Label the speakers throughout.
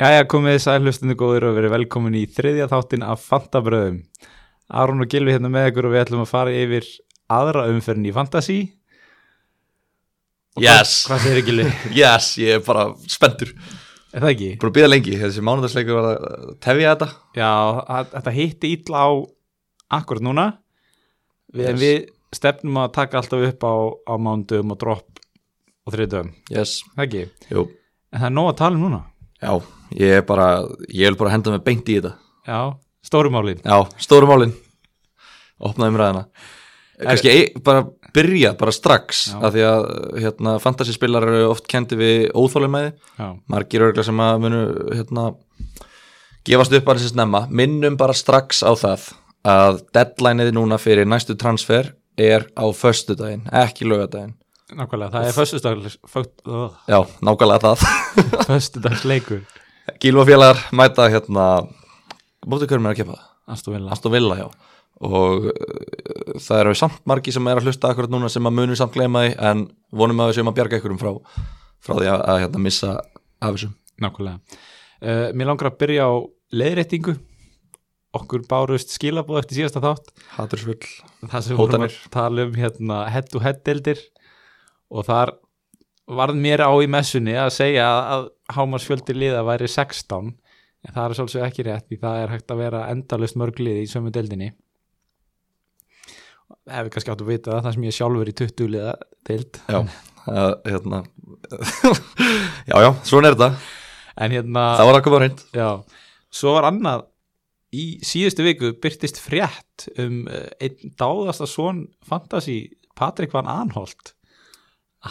Speaker 1: Jæja, komið þið sæl hlustundu góðir og verið velkomin í þriðja þáttin af Fantabröðum. Aron og Gilvi hérna með ykkur og við ætlum að fara yfir aðra umferðin í Fantasí. Og
Speaker 2: Yes.
Speaker 1: Hvað, hvað segir Gilvi?
Speaker 2: Yes, ég er bara spenntur
Speaker 1: Er það ekki?
Speaker 2: Búin að býða lengi, þessi mánudagsleikur var að tefja þetta
Speaker 1: Já, að- þetta hitti illa á akkurat núna. Við,
Speaker 2: Yes.
Speaker 1: En við stefnum að taka alltaf upp á, á mándum og dropp og þriðdöfum.
Speaker 2: Yes,
Speaker 1: Það ekki?
Speaker 2: jú
Speaker 1: En það er nóg að tala um núna.
Speaker 2: Já, ég er bara, ég vil bara henda mig beint í þetta
Speaker 1: Já, stórumálin.
Speaker 2: Já, stóru málin Opnaði umræðina Kannski ein, bara byrja, bara strax
Speaker 1: Já.
Speaker 2: Af því að, hérna, fantasyspillar eru oft kendi við óþólumæði
Speaker 1: Já,
Speaker 2: Margir örgla sem að munu, hérna Gefast upp bara sér snemma Minnum bara strax á það Að deadlineið núna fyrir næstu transfer Er á föstudaginn, ekki lögadaginn
Speaker 1: nákvæmlega. Það er föstudags, föst, uh,
Speaker 2: Já, nákvæmlega það
Speaker 1: föstudagsleikur.
Speaker 2: Gílva félagar mæta hérna Mótið hverjum er að kepa það?
Speaker 1: Aston Villa.
Speaker 2: Aston Villa, já Og uh, það eru samt margi sem er að hlusta akkurat núna sem að munum samt gleyma því en vonum að við séum að bjarga ykkurum frá frá því að, að hérna missa af þessum
Speaker 1: Nákvæmlega. Uh, mér langar að byrja á leiðréttingu. Okkur bárust skilabóð eftir síðasta þátt.
Speaker 2: Hatursfull
Speaker 1: Það sem við vorum að
Speaker 2: Hótanir.
Speaker 1: tala um hérna head to head deildir og þar varð mér á í messunni að segja að hámarsfjöldi liða væri 16 en það er svolítið ekki rétt því það er hægt að vera endalust mörg liði í sömu deildinni. Ef við kannski áttu að vita það, það sem ég er sjálfur í 20 liða deild.
Speaker 2: Já, uh, hérna Já, já, svona er þetta
Speaker 1: En hérna...
Speaker 2: Það var að koma á reynd
Speaker 1: Já, svo var annað í síðustu viku byrtist frétt um eh, einn dáðasta svon fantasi Patrik Van Anholt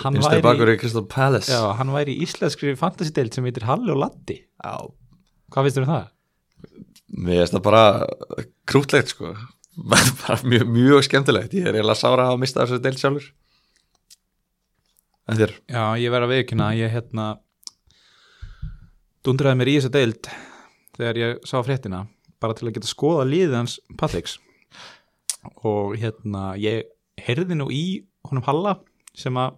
Speaker 1: hann væri,
Speaker 2: Innstæði bakur í Crystal Palace
Speaker 1: já, hann væri í íslenskri fantasideild sem heitir Halli og Latti
Speaker 2: já
Speaker 1: hvað finnst þér um það?
Speaker 2: Mér finnst það bara krútlegt sko bara mjög, mjög skemmtilegt ég er eiginlega sára að hafa mista þessu deild sjálfur En þér?
Speaker 1: Já, ég verð að veikina ég hérna dundraði mér í þessa deild þegar ég sá fréttina bara til að geta skoða liðið hans Patriks og hérna ég heyrði nú í honum Halla sem að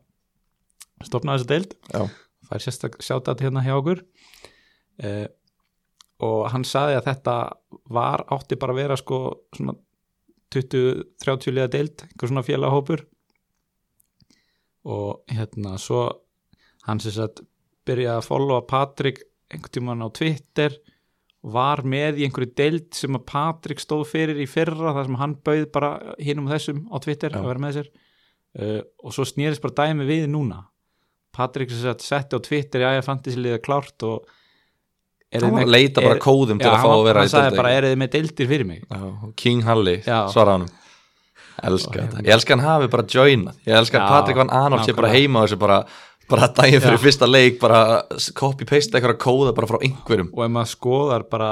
Speaker 1: stopnaði þessa deild
Speaker 2: Já,
Speaker 1: fær sérstak sjátat hérna hjá okkur eh, og hann saði að þetta var átti bara að vera sko svona 20-30 liða deild, einhver svona félagahópur og hérna svo hann sér satt byrjaði að followa Patrik einhvern tímann á Twitter var með í einhverju deild sem að Patrik stóð fyrir í fyrra þar sem hann bauð bara hinum og þessum á Twitter
Speaker 2: Já.
Speaker 1: að vera með sér uh, og svo snýrist bara dæmi við núna Patrik sem sagt setti á Twitter já ég fant þessi liða klárt og er
Speaker 2: hann var að leita bara kóðum til að fá að vera
Speaker 1: hann sagði
Speaker 2: deild,
Speaker 1: bara
Speaker 2: ekki?
Speaker 1: er þið með deildir fyrir mig
Speaker 2: Já, og King Halli,
Speaker 1: Já. hérna.
Speaker 2: svara hann Elska þetta, ég elska hann hafi bara joinað Ég elska
Speaker 1: Já,
Speaker 2: að Patrik Van Anolt sé bara
Speaker 1: nákvæmlega.
Speaker 2: heima á þessu bara, bara daginn fyrir
Speaker 1: Já.
Speaker 2: fyrsta leik bara copy-paste eitthvað kóða bara frá einhverjum
Speaker 1: og ef maður skoðar bara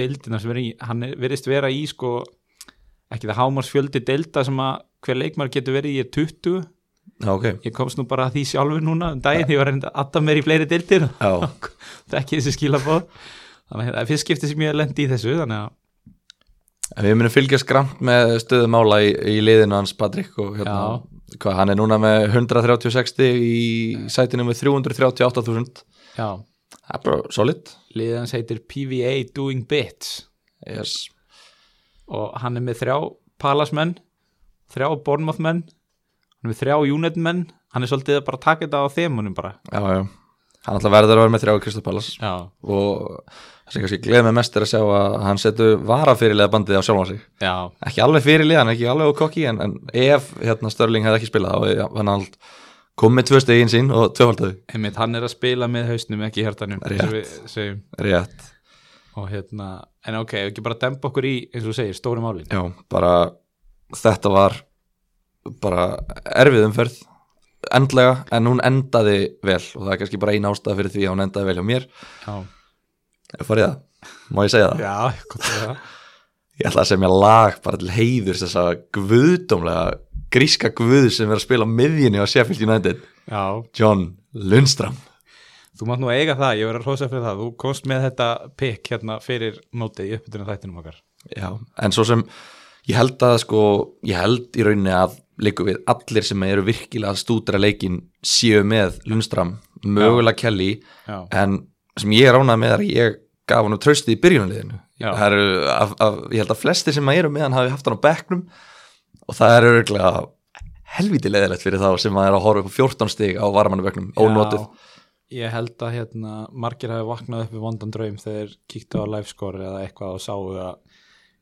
Speaker 1: deildina sem er í, hann er- virðist vera í sko, ekki það hámarsfjöldi deilda sem að hver leikmar getur verið í er 20,
Speaker 2: Já, ok
Speaker 1: ég komst nú bara að því sjálfur núna um daginn, því ég var reynda alltaf meir í fleiri deildir
Speaker 2: Já,
Speaker 1: það er ekki þessi skilabóð þannig að hérna, það er fyrst skipti sem ég lendi í þessu þannig að
Speaker 2: En við munum fylgjast gramt með stöðum mála í, í liðinu hans Patrik og hérna, hvað, hann er núna með 136 stig í sætinu með 338.000
Speaker 1: já,
Speaker 2: Það er bara solid
Speaker 1: liðans heitir PVA Doing Bits
Speaker 2: yes.
Speaker 1: og hann er með þrjá palasmenn, þrjá bornmáttmenn hann er með þrjá júnetmenn hann er svolítið að bara taka þetta á þemunum bara
Speaker 2: Já, já Hann alltaf verður að vera með þrjá Kristopalas
Speaker 1: já,
Speaker 2: og það sem kannski gleð með mest er að sjá að hann setur vara fyrirlega bandið á sjálfan sig
Speaker 1: já
Speaker 2: ekki alveg fyrirlega, hann er ekki alveg á kokki en, en ef hérna Störling hefði ekki spilað þá hefði hann allt komið tvö stegin sín og tvöfaldaði
Speaker 1: Einmitt, hann er að spila með hausnum ekki hjartanum eins og við segjum.
Speaker 2: rétt
Speaker 1: og hérna, en ok, ef ekki bara dempa okkur í eins og þú segir, stórum álin
Speaker 2: Já, bara þetta var bara erfið umferð endlega, en hún endaði vel og það er kannski bara ein ástæða fyrir því að hún endaði vel hjá mér,
Speaker 1: já,
Speaker 2: ef farið það má ég segja það,
Speaker 1: já gott að það.
Speaker 2: ég ætla að semja lag bara til heiður þessa guðdómlega gríska guð sem er að spila á miðjunni á Sheffield United,
Speaker 1: já,
Speaker 2: John Lundström
Speaker 1: þú mátt nú eiga það, ég verður að hrósa fyrir það þú komst með þetta pikk hérna fyrir mótið í uppbytunum þættinum okkar
Speaker 2: Já, en svo sem ég held að sko, ég held í rauninni að líku við allir sem eru virkilega að stúdra leikin séu með Lundstram, mögulega Kelly
Speaker 1: já,
Speaker 2: en sem ég er ánað með er að ég gaf hann tröstið í byrjunliðinu
Speaker 1: Já.
Speaker 2: Það eru, af, af, ég held að flesti sem eru með hann hafi haft hann á bekknum og það er örgulega helviti leðilegt fyrir þá sem maður er að horfa upp á 14 stig á varmanaböknum, ónotið
Speaker 1: ég held að hérna, margir hafi vaknað upp við vondan draum þegar kíktu á livescore eða eitthvað og sáu að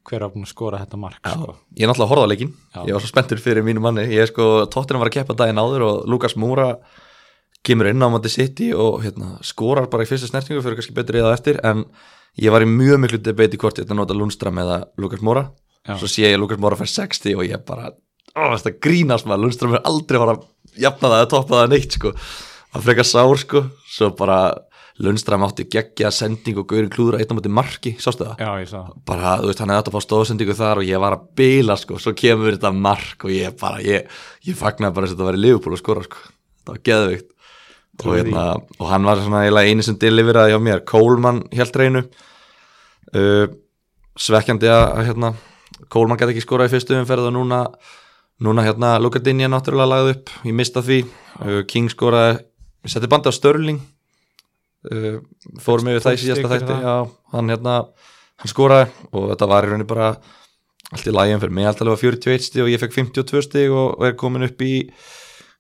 Speaker 1: hver var búin að skora þetta mark sko.
Speaker 2: Ég er náttúrulega að horfa á leikinn,
Speaker 1: Já.
Speaker 2: ég var svo spenntur fyrir mínu manni ég er sko, tóttina var að keppa daginn áður og Lukas Múra kemur inn á Mandi City og hérna, skorar bara í fyrsta snertingu fyrir kannski betri eða eftir en ég var í mjög miklu debate í hvort ég ætla að nota Lundström eða Lukas Múra
Speaker 1: Já.
Speaker 2: svo sé ég að Lukas Múra fær 60 og ég bara, ó, þetta grínast maður Lundström er aldrei að fara að jafna það eða toppa það neitt sko, að freka sár sko, svo bara Lundström átti geggja sending og gaurin klúður eitt á móti marki, sástu það?
Speaker 1: já, ég sá það.
Speaker 2: bara, þú veist, hann hefði átt að fá stóðsendingu þar og ég var að bila, sko, svo kemur þetta mark og ég bara, ég, ég fagnaði bara þess að þetta var í Liverpool að skora, sko þetta var geðveikt og,
Speaker 1: Trúi því.
Speaker 2: hérna, og hann var svona eiginlega eini sem deliveraði hjá mér, Coleman held reynu uh, svekkjandi að, að, hérna Coleman gæti ekki skorað í fyrstu umferð og núna núna, hérna, Lugardinja náttúrulega lagði upp, ég mista því uh, King skoraði, ég setti bandi á Störling uh, fórum yfir það í
Speaker 1: Tók
Speaker 2: síðasta
Speaker 1: stig fyrir
Speaker 2: þætti
Speaker 1: það.
Speaker 2: já, hann hérna, hann skoraði og þetta var í rauninni bara allt í lægum fyrir mig, allt alveg var 41 stig og ég fekk 52 stig og, og er komin upp í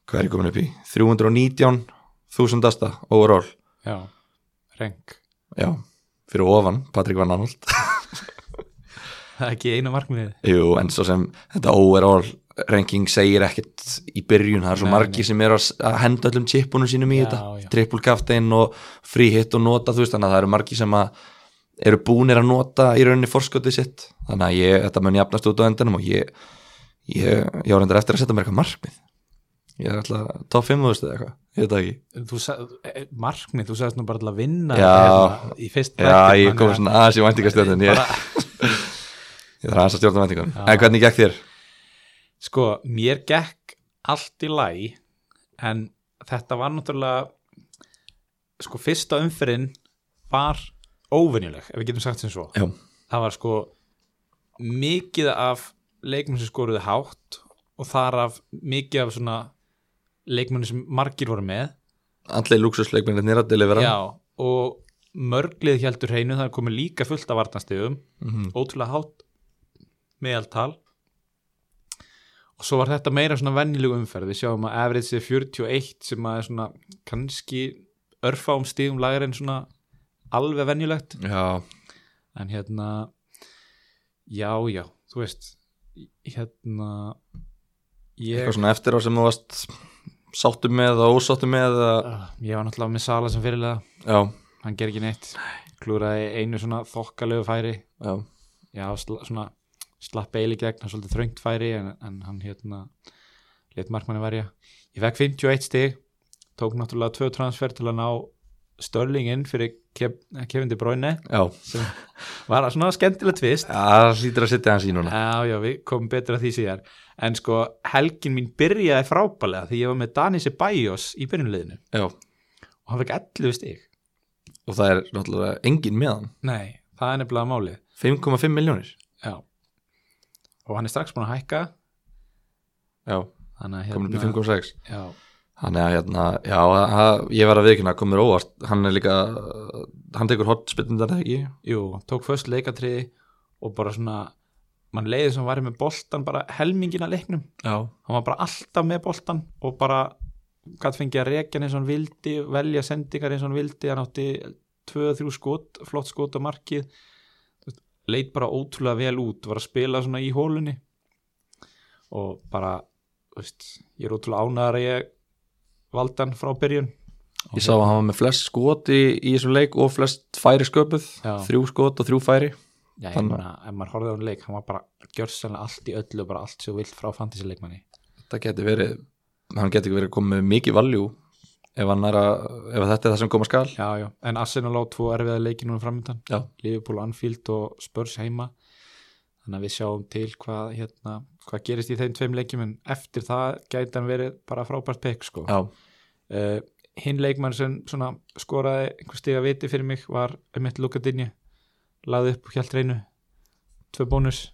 Speaker 2: hvað er ég komin upp í? 319 þúsundasta overall
Speaker 1: já, reng
Speaker 2: já, fyrir ofan, Patrik Van Anold
Speaker 1: það er ekki einu markmiðið
Speaker 2: Jú, en svo sem þetta overall ranking segir ekkert í byrjun það er svo
Speaker 1: Nei,
Speaker 2: margir
Speaker 1: nei.
Speaker 2: sem eru að s- að henda öllum tippunum sínum í
Speaker 1: Já, já.
Speaker 2: þetta triple captain og free hit og nota þú veist þannig að það eru margir sem að eru búnir að nota í rauninni forskotið sitt þannig að ég, þetta mun jafnast út á endanum og ég ég, ég var endur eftir að setja mér eitthvað markmið ég er alltaf top 5 þú veist eða eitthvað, ég veit það ekki
Speaker 1: þú sag, eh, markmið, þú sagðist nú bara til að vinna
Speaker 2: Já.
Speaker 1: hérna, í fyrst
Speaker 2: Já, ég kom svona aðeins í væntingastöðun ég, ég þarf aðeins að stjórna væntingunum
Speaker 1: Já.
Speaker 2: en hvernig gekk þér?
Speaker 1: Sko, mér gekk allt í læ en þetta var náttúrulega sko, fyrsta umferinn var óvenjuleg, ef við getum sagt sem svo
Speaker 2: Já,
Speaker 1: það var sko mikið af leikmenn sem skoruðu hátt og þar af mikið af svona leikmenn sem margir voru með
Speaker 2: allir luxusleikminni nýra að delivera
Speaker 1: Já, og mörglið heldur hreinu, það er komið líka fullt af vartastegum
Speaker 2: Mhm.
Speaker 1: ótrúlega hátt meðaltal og svo var þetta meira svona venjulegu umferð við sjáum að average er 41 sem að er svona kannski örfáum stíðum lagar en svona alveg venjulegt
Speaker 2: Já,
Speaker 1: en hérna já, já, þú veist hérna ég,
Speaker 2: eitthvað svona eftir á sem þú varst sáttu með og ósáttu með að,
Speaker 1: Ah, ég var náttúrulega með Sala sem fyrirlega
Speaker 2: já,
Speaker 1: hann ger ekki neitt klúraði einu svona þokkalegu færi
Speaker 2: já,
Speaker 1: já, sla, svona slapp Bale í gegn, hann svolítið þröngt færi en, en hann hérna let markmanni verja. Ég fekk 51 stig tók náttúrulega tvö transfer til að ná Störling inn fyrir Kev, Kevin De Bruyne
Speaker 2: já
Speaker 1: sem var svona skemmtilegt tvist
Speaker 2: Það hlýtur að sitja hans í núna
Speaker 1: Já, já, við komum betur að því síðar en sko, helgin mín byrjaði frábælega því ég var með Danise Bajos í byrjunliðinu
Speaker 2: Já,
Speaker 1: og hann fekk 11 stig.
Speaker 2: og það er náttúrulega engin með hann
Speaker 1: Nei, það er nefnilega málið
Speaker 2: 5,5 miljónir
Speaker 1: Já og hann er strax búin að hækka
Speaker 2: Já,
Speaker 1: þannig að hérna,
Speaker 2: komin upp í 5,6
Speaker 1: Já,
Speaker 2: Þannig að hérna, já, að- að- ég var að viðkynna að komur óvart, hann er líka hann tekur hotspillindar ekki
Speaker 1: Jú, tók föst leikatriði og bara svona mann leiði sem var með boltan bara helmingin að leiknum
Speaker 2: Já,
Speaker 1: hann var bara alltaf með boltan og bara gætt fengið að rekja hann eins og hann vildi velja sendingar eins og hann vildi hann átti 2-3 skot, flott skot á markið Þú veist, leit bara ótrúlega vel út var að spila svona í hólunni og bara þú veist, ég er ótrúlega ánæðar að ég valdi hann frá byrjun
Speaker 2: Ég sá að hann var með flest skot í, í þessum leik og flest færi sköpuð,
Speaker 1: Já.
Speaker 2: þrjú skot og þrjú færi
Speaker 1: Já, ég
Speaker 2: Þannig-
Speaker 1: meina, ef maður horfði á hann leik, hann var bara gjörsanlega allt í öllu, bara allt svo vilt frá fantasy-leikmanni.
Speaker 2: þetta geti verið hann geti verið komið með mikið valjú ef, hann er að, ef þetta er það sem koma skal
Speaker 1: Já, já, en Arsenal á tvo erfiða leiki núna framöndan,
Speaker 2: Já.
Speaker 1: Liverpool, Anfield og Spurs heima, þannig að við sjáum til hvað, hérna, hvað gerist í þeim tveim leikjum, en eftir það gæti hann verið bara frábært pekk, sko.
Speaker 2: Já,
Speaker 1: Uh, hinn leikmann sem svona skoraði einhver stiga viti fyrir mig var einmitt Luka Dinja, laði upp hjælt reynu, tvö bónus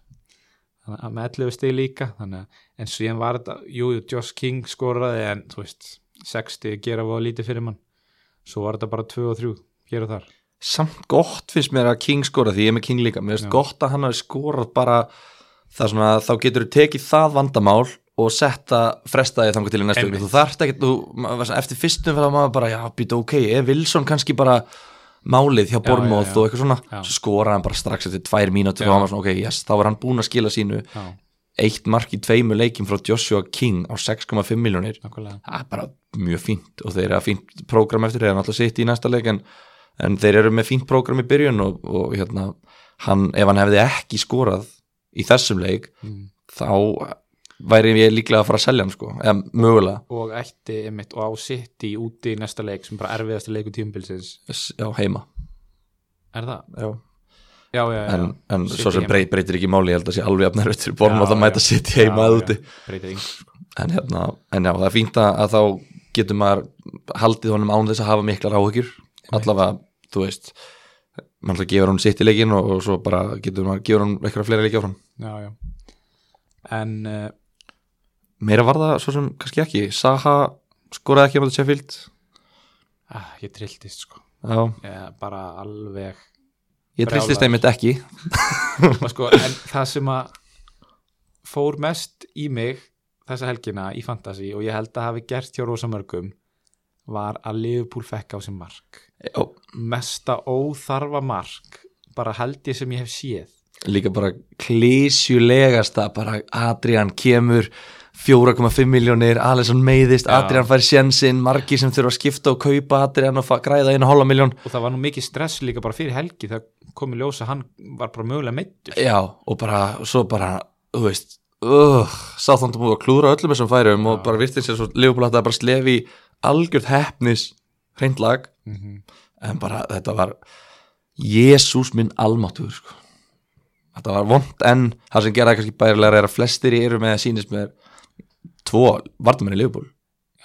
Speaker 1: þannig að með 11 stig líka þannig að, en síðan var þetta jú, jú, Josh King skoraði en þú veist 6 stig gera voða lítið fyrir mann svo var þetta bara 2 og 3 hér og þar
Speaker 2: samt gott finnst mér að King skora því ég er með King líka, mér
Speaker 1: Já.
Speaker 2: finnst gott að hann hafi skorað bara það svona þá getur þú tekið það vandamál og setta frestaði þangar til í næstu
Speaker 1: Einmitt.
Speaker 2: viku. þú þarft ekki, þú, maður var svona- eftir fyrstum fyrir að maður bara, já, býta ok, er Wilson kannski bara málið
Speaker 1: Já,
Speaker 2: hjá Bormóð
Speaker 1: já, já.
Speaker 2: og eitthvað svona,
Speaker 1: Já.
Speaker 2: svo skoraði hann bara strax eftir tvær
Speaker 1: Já.
Speaker 2: mínútur og hann var svona, ok, yes, þá var hann búin að skila sínu
Speaker 1: já,
Speaker 2: eitt mark í tveimu leikim frá Joshua King á 6,5 miljónir
Speaker 1: nákvæmlega
Speaker 2: það er bara mjög fínt og þeir eru að fínt prógram eftir þeir náttúrulega sitt í næsta leik en, en þeir eru með fínt prógram í byrjun og, og hérna, hann, ef hann hefði ekki skorað í þessum leik
Speaker 1: mm.
Speaker 2: þá væri ég líklega að fara að selja hann sko, eða mögulega
Speaker 1: og ætti einmitt og á sitt í úti í næsta leik sem bara erfiðasti leiku tíumbilsins
Speaker 2: s- já, heima
Speaker 1: er það?
Speaker 2: já.
Speaker 1: já, já, já,
Speaker 2: en, en
Speaker 1: City
Speaker 2: svo sem
Speaker 1: heima.
Speaker 2: brey, breytir ekki máli ég held að sé alveg afnæður eftir borðum og það mæta sitt heima eða úti
Speaker 1: breytir yngur
Speaker 2: en, hérna, en já, það er fínt að, að þá getur maður haldið honum án þess að hafa miklar áhyggjur allavega, þú veist mann ætla að gefa hann sitt í leikin og, og svo bara getur maður gefur hann eitthvað fleiri leiki áfram
Speaker 1: já, já. en uh,
Speaker 2: meira var það svo sem kannski ekki Saha skoraði ekki á móti Sheffield
Speaker 1: ah, ég trilltist sko
Speaker 2: já,
Speaker 1: ég, bara alveg
Speaker 2: ég tristist
Speaker 1: Brjálaður.
Speaker 2: einmitt ekki
Speaker 1: Og sko, en það sem að fór mest í mig þessa helgina í Fantasí og ég held að hafi gert hjá rosa mörgum var að Liverpool fekk á sem mark
Speaker 2: já,
Speaker 1: mesta óþarfa mark bara held ég sem ég hef séð
Speaker 2: líka bara klísjulegasta bara Adrian kemur 4,5 miljónir, Alisson meiðist
Speaker 1: Já.
Speaker 2: Adrian fær sjensinn, margi sem þurfa að skipta og kaupa Adrian og fa- græða einu hálfa miljón
Speaker 1: og það var nú mikið stress líka bara fyrir helgi það kom í ljósa hann var bara mögulega meittur
Speaker 2: Já, og bara, og svo bara, þú veist, uh, sáþandum búið að klúra öllum þessum færum og bara virtist sér svo Liverpool að það bara slefi í algjörð hefnis hreint lag,
Speaker 1: mm -hmm.
Speaker 2: en bara þetta var Jésús minn almáttur, sko. Þetta var vond en það sem gera kannski bærilega er að flestir eru með að sýnist með tvo vartamenn í Liverpool.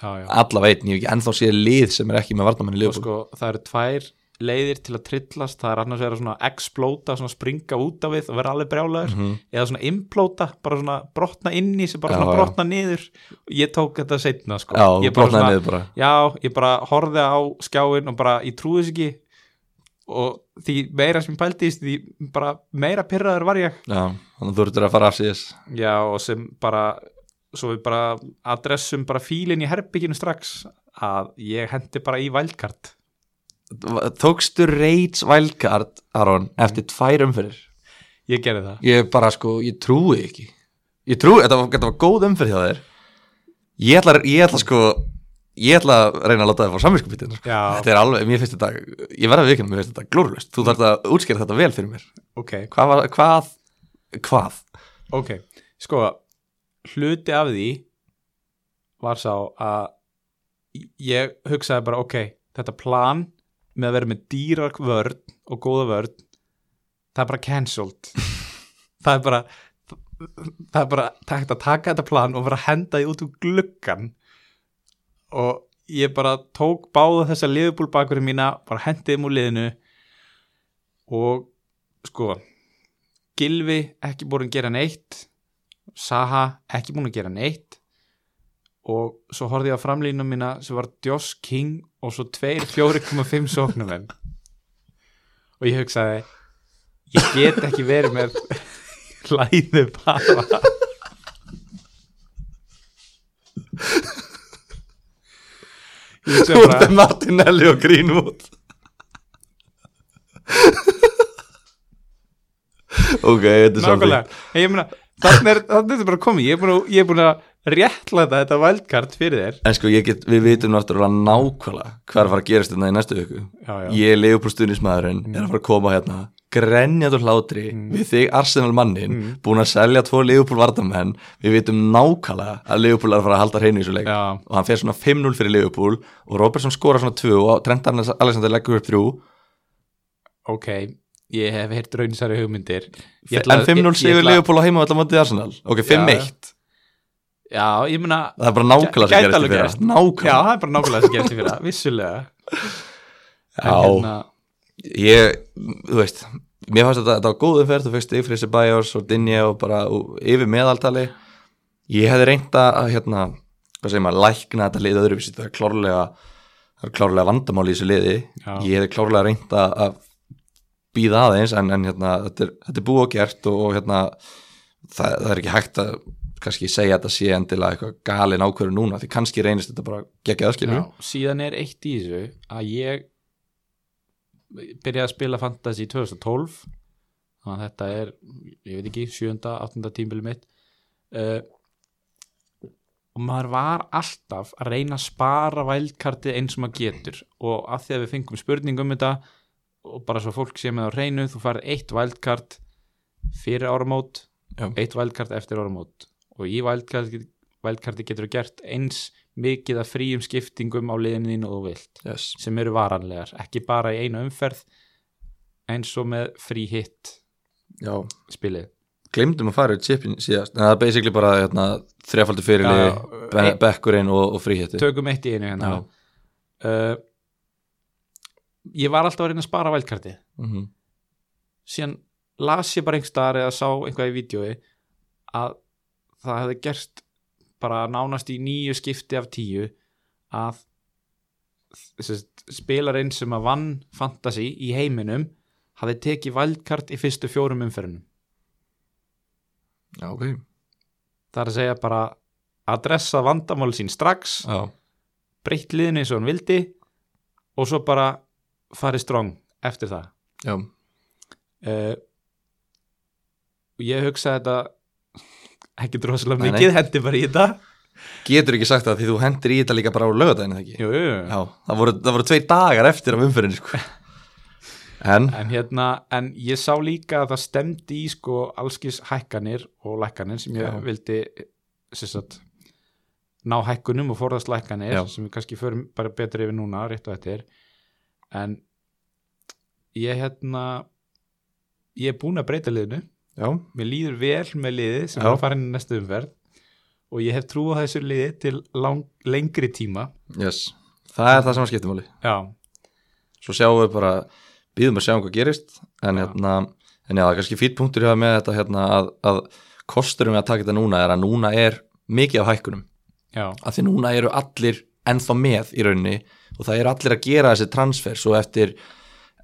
Speaker 1: já, já.
Speaker 2: Allavega einn, ég hef ekki ennþá séð lið sem er ekki með vartamenn í
Speaker 1: og
Speaker 2: Liverpool.
Speaker 1: sko það eru tvær leiðir til að trillast það er annars vegar að svona explóta svona springa út af við og vera alveg
Speaker 2: Mhm.
Speaker 1: brjálæður eða svona implóta, bara svona brotna inn í sem bara
Speaker 2: Já,
Speaker 1: svona
Speaker 2: já.
Speaker 1: brotna niður ég tók þetta setna sko
Speaker 2: Já,
Speaker 1: ég
Speaker 2: þú
Speaker 1: bara
Speaker 2: brotnaði niður bara.
Speaker 1: já, ég bara horfði á skjáin og bara ég trúði þess ekki og því meira sem ég pæltist því bara meira pyrraður var ég
Speaker 2: Já, þannig að þú ertur að fara af síðis.
Speaker 1: já og sem bara svo við bara adressum bara fílinn í herbygginu strax að ég hendi bara í vældkart
Speaker 2: tókstu Raids Wildcard Aron, eftir tvær umfyrir
Speaker 1: ég gerði það
Speaker 2: ég bara sko, ég trúi ekki ég trúi, þetta var, þetta var góð umfyrir hjá þér ég ætla, ég ætla sko ég ætla að reyna að láta þér fá samvinskupitinn sko.
Speaker 1: Já.
Speaker 2: þetta er alveg, mér finnst þetta ég verða að vikina, mér finnst þetta glórlust þú þarf að útskýra þetta vel fyrir mér
Speaker 1: ok,
Speaker 2: hvað, var, hvað, hvað
Speaker 1: ok, sko hluti af því var sá að ég hugsaði bara ok, þetta plan með að vera með dýrar vörn og góða vörn það er bara cancelled það er bara það er bara takt að taka þetta plan og bara henda því út úr gluggan og ég bara tók báða þessa liðbúl bakurinn mína bara hendið þeim úr liðinu og sko Gilvi ekki búin að gera neitt Saha ekki búin að gera neitt og svo horfði ég á framlínu mína sem var Josh King og svo 2,4,5 sóknum þeim og ég hugsaði ég get ekki verið með hlæðu bara ég hugsaði bara
Speaker 2: Útaf Martinelli og Greenwood ok, þetta er samþykkt.
Speaker 1: Nákvæmlega, En ég meina þannig er þarna er þetta bara komið, ég er búin að, ég er búin að réttlæta þetta vældkart fyrir þér
Speaker 2: En sko, ég get, við vitum náttúrulega nákvæmlega hvað er að fara að gerast þetta í næstu viku.
Speaker 1: Já, Mm. já.
Speaker 2: Ég er leifupúlstunismæðurinn, er að fara að koma hérna, grenjaður hlátri
Speaker 1: Mm.
Speaker 2: við þig Arsenal mannin, búin að selja tvo leifupúlvardamenn, við vitum nákvæmlega að leifupúl er að fara að halda hreinu í svo leik.
Speaker 1: Já.
Speaker 2: Og hann fer svona 5-0 fyrir leifupúl og Robertson skora svona 2 og Trent Alexander leggur upp 3.
Speaker 1: Ok, ég hef heyrt raunisari hugmyndir Ég ætla
Speaker 2: En
Speaker 1: að-
Speaker 2: 5-0
Speaker 1: ég- ég
Speaker 2: sigur
Speaker 1: ætla-
Speaker 2: leifupúl á heima alltaf mótið Arsenal. Ok, 5-1.
Speaker 1: Já, ég meina
Speaker 2: Það er bara nákvæmlega
Speaker 1: Gæti
Speaker 2: sem gerist í
Speaker 1: alveg
Speaker 2: fyrra.
Speaker 1: gerst. Já,
Speaker 2: Nákvæmlega.
Speaker 1: það er bara nákvæmlega sem gerist í fyrra, vissulega En
Speaker 2: Já.
Speaker 1: hérna,
Speaker 2: ég, þú veist mér fannst þetta, þetta var góð umferð, þú fegst yfir þessi bæjars og dinja og bara og yfir meðaltali ég hefði reynt að hérna, hvað segir maður, lækna þetta lið öðruvísi, það er klárlega það er klárlega vandamál í þessu liði
Speaker 1: Já.
Speaker 2: ég hefði klárlega reynt að, að býða aðeins en, en hérna, þetta, er, þetta er búið og gert og, og hérna, það, það er ekki hægt að kannski segja að þetta sé endilega eitthvað galin ákvörðu núna því kannski reynist þetta bara geggjað skilur
Speaker 1: Já, síðan er eitt í þessu að ég byrjaði að spila Fantasy 2012 þannig að þetta er, ég veit ekki, 7. 8. tímbili mitt uh, og maður var alltaf að reyna að spara vældkartið eins og maður getur og af því að við fengum spurningu um þetta og bara svo fólk sé með á reynu þú farið eitt vældkart fyrir áramót
Speaker 2: Já.
Speaker 1: eitt vældkart eftir áramót og í vældkarti, vældkarti getur þú gert eins mikið af fríum skiptingum á liðinu þínu og þú vilt
Speaker 2: yes.
Speaker 1: sem eru varanlegar, ekki bara í einu umferð eins og með frí hitt
Speaker 2: Já,
Speaker 1: spilið
Speaker 2: glemdum að fara í chipin síðast en það er basically bara hérna, þrefaldi
Speaker 1: Já,
Speaker 2: fyrirlið,
Speaker 1: já. e,
Speaker 2: be- bekkurinn og, og fríhetti
Speaker 1: tökum eitt í einu hérna uh, ég var alltaf að reyna að spara vældkarti
Speaker 2: mm -hmm.
Speaker 1: síðan las ég bara einhver staðar eða sá einhvað í vídjói að það hefði gerst bara nánast í nýju skipti af tíu að þessi, spilarinn sem að vann fantasy í heiminum hafði tekið valdkart í fyrstu fjórum umferðunum
Speaker 2: Já, ok
Speaker 1: það er að segja bara adressa vandamál sín strax
Speaker 2: Já,
Speaker 1: breytt liðinu eins og hann vildi og svo bara farið strong eftir það
Speaker 2: já,
Speaker 1: uh, ég hugsaði þetta ekki droslega
Speaker 2: Nei, nei.
Speaker 1: mikið, hendi bara í þetta
Speaker 2: getur ekki sagt það því þú hendir í þetta líka bara á lögadaginn eða ekki
Speaker 1: jú, jú. jú.
Speaker 2: Já, það voru, það voru tveir dagar eftir af umferðinni sko. En,
Speaker 1: en hérna, en ég sá líka að það stemdi í sko allskis hækkanir og lækkanir sem ég
Speaker 2: Já.
Speaker 1: vildi sem sagt, ná hækkunum og forðast lækkanir
Speaker 2: Já.
Speaker 1: sem við kannski förum bara betur yfir núna, rétt og eftir en ég hérna ég er búin að breyta liðinu
Speaker 2: já,
Speaker 1: mér líður vel með liði sem er
Speaker 2: Já.
Speaker 1: að fara inn í næstu umferð og ég hef trú á þessu liði til lang, lengri tíma
Speaker 2: yes Það er það sem að skipta máli
Speaker 1: já,
Speaker 2: Svo sjáum við bara, býðum að sjáum hvað gerist En
Speaker 1: Já.
Speaker 2: hérna, en já, það er kannski fýtt punktur hjá með þetta hérna að, að kosturum við að taka þetta núna er að núna er mikið af hækkunum
Speaker 1: já,
Speaker 2: að því núna eru allir ennþá með í rauninni og það eru allir að gera þessi transfer svo eftir,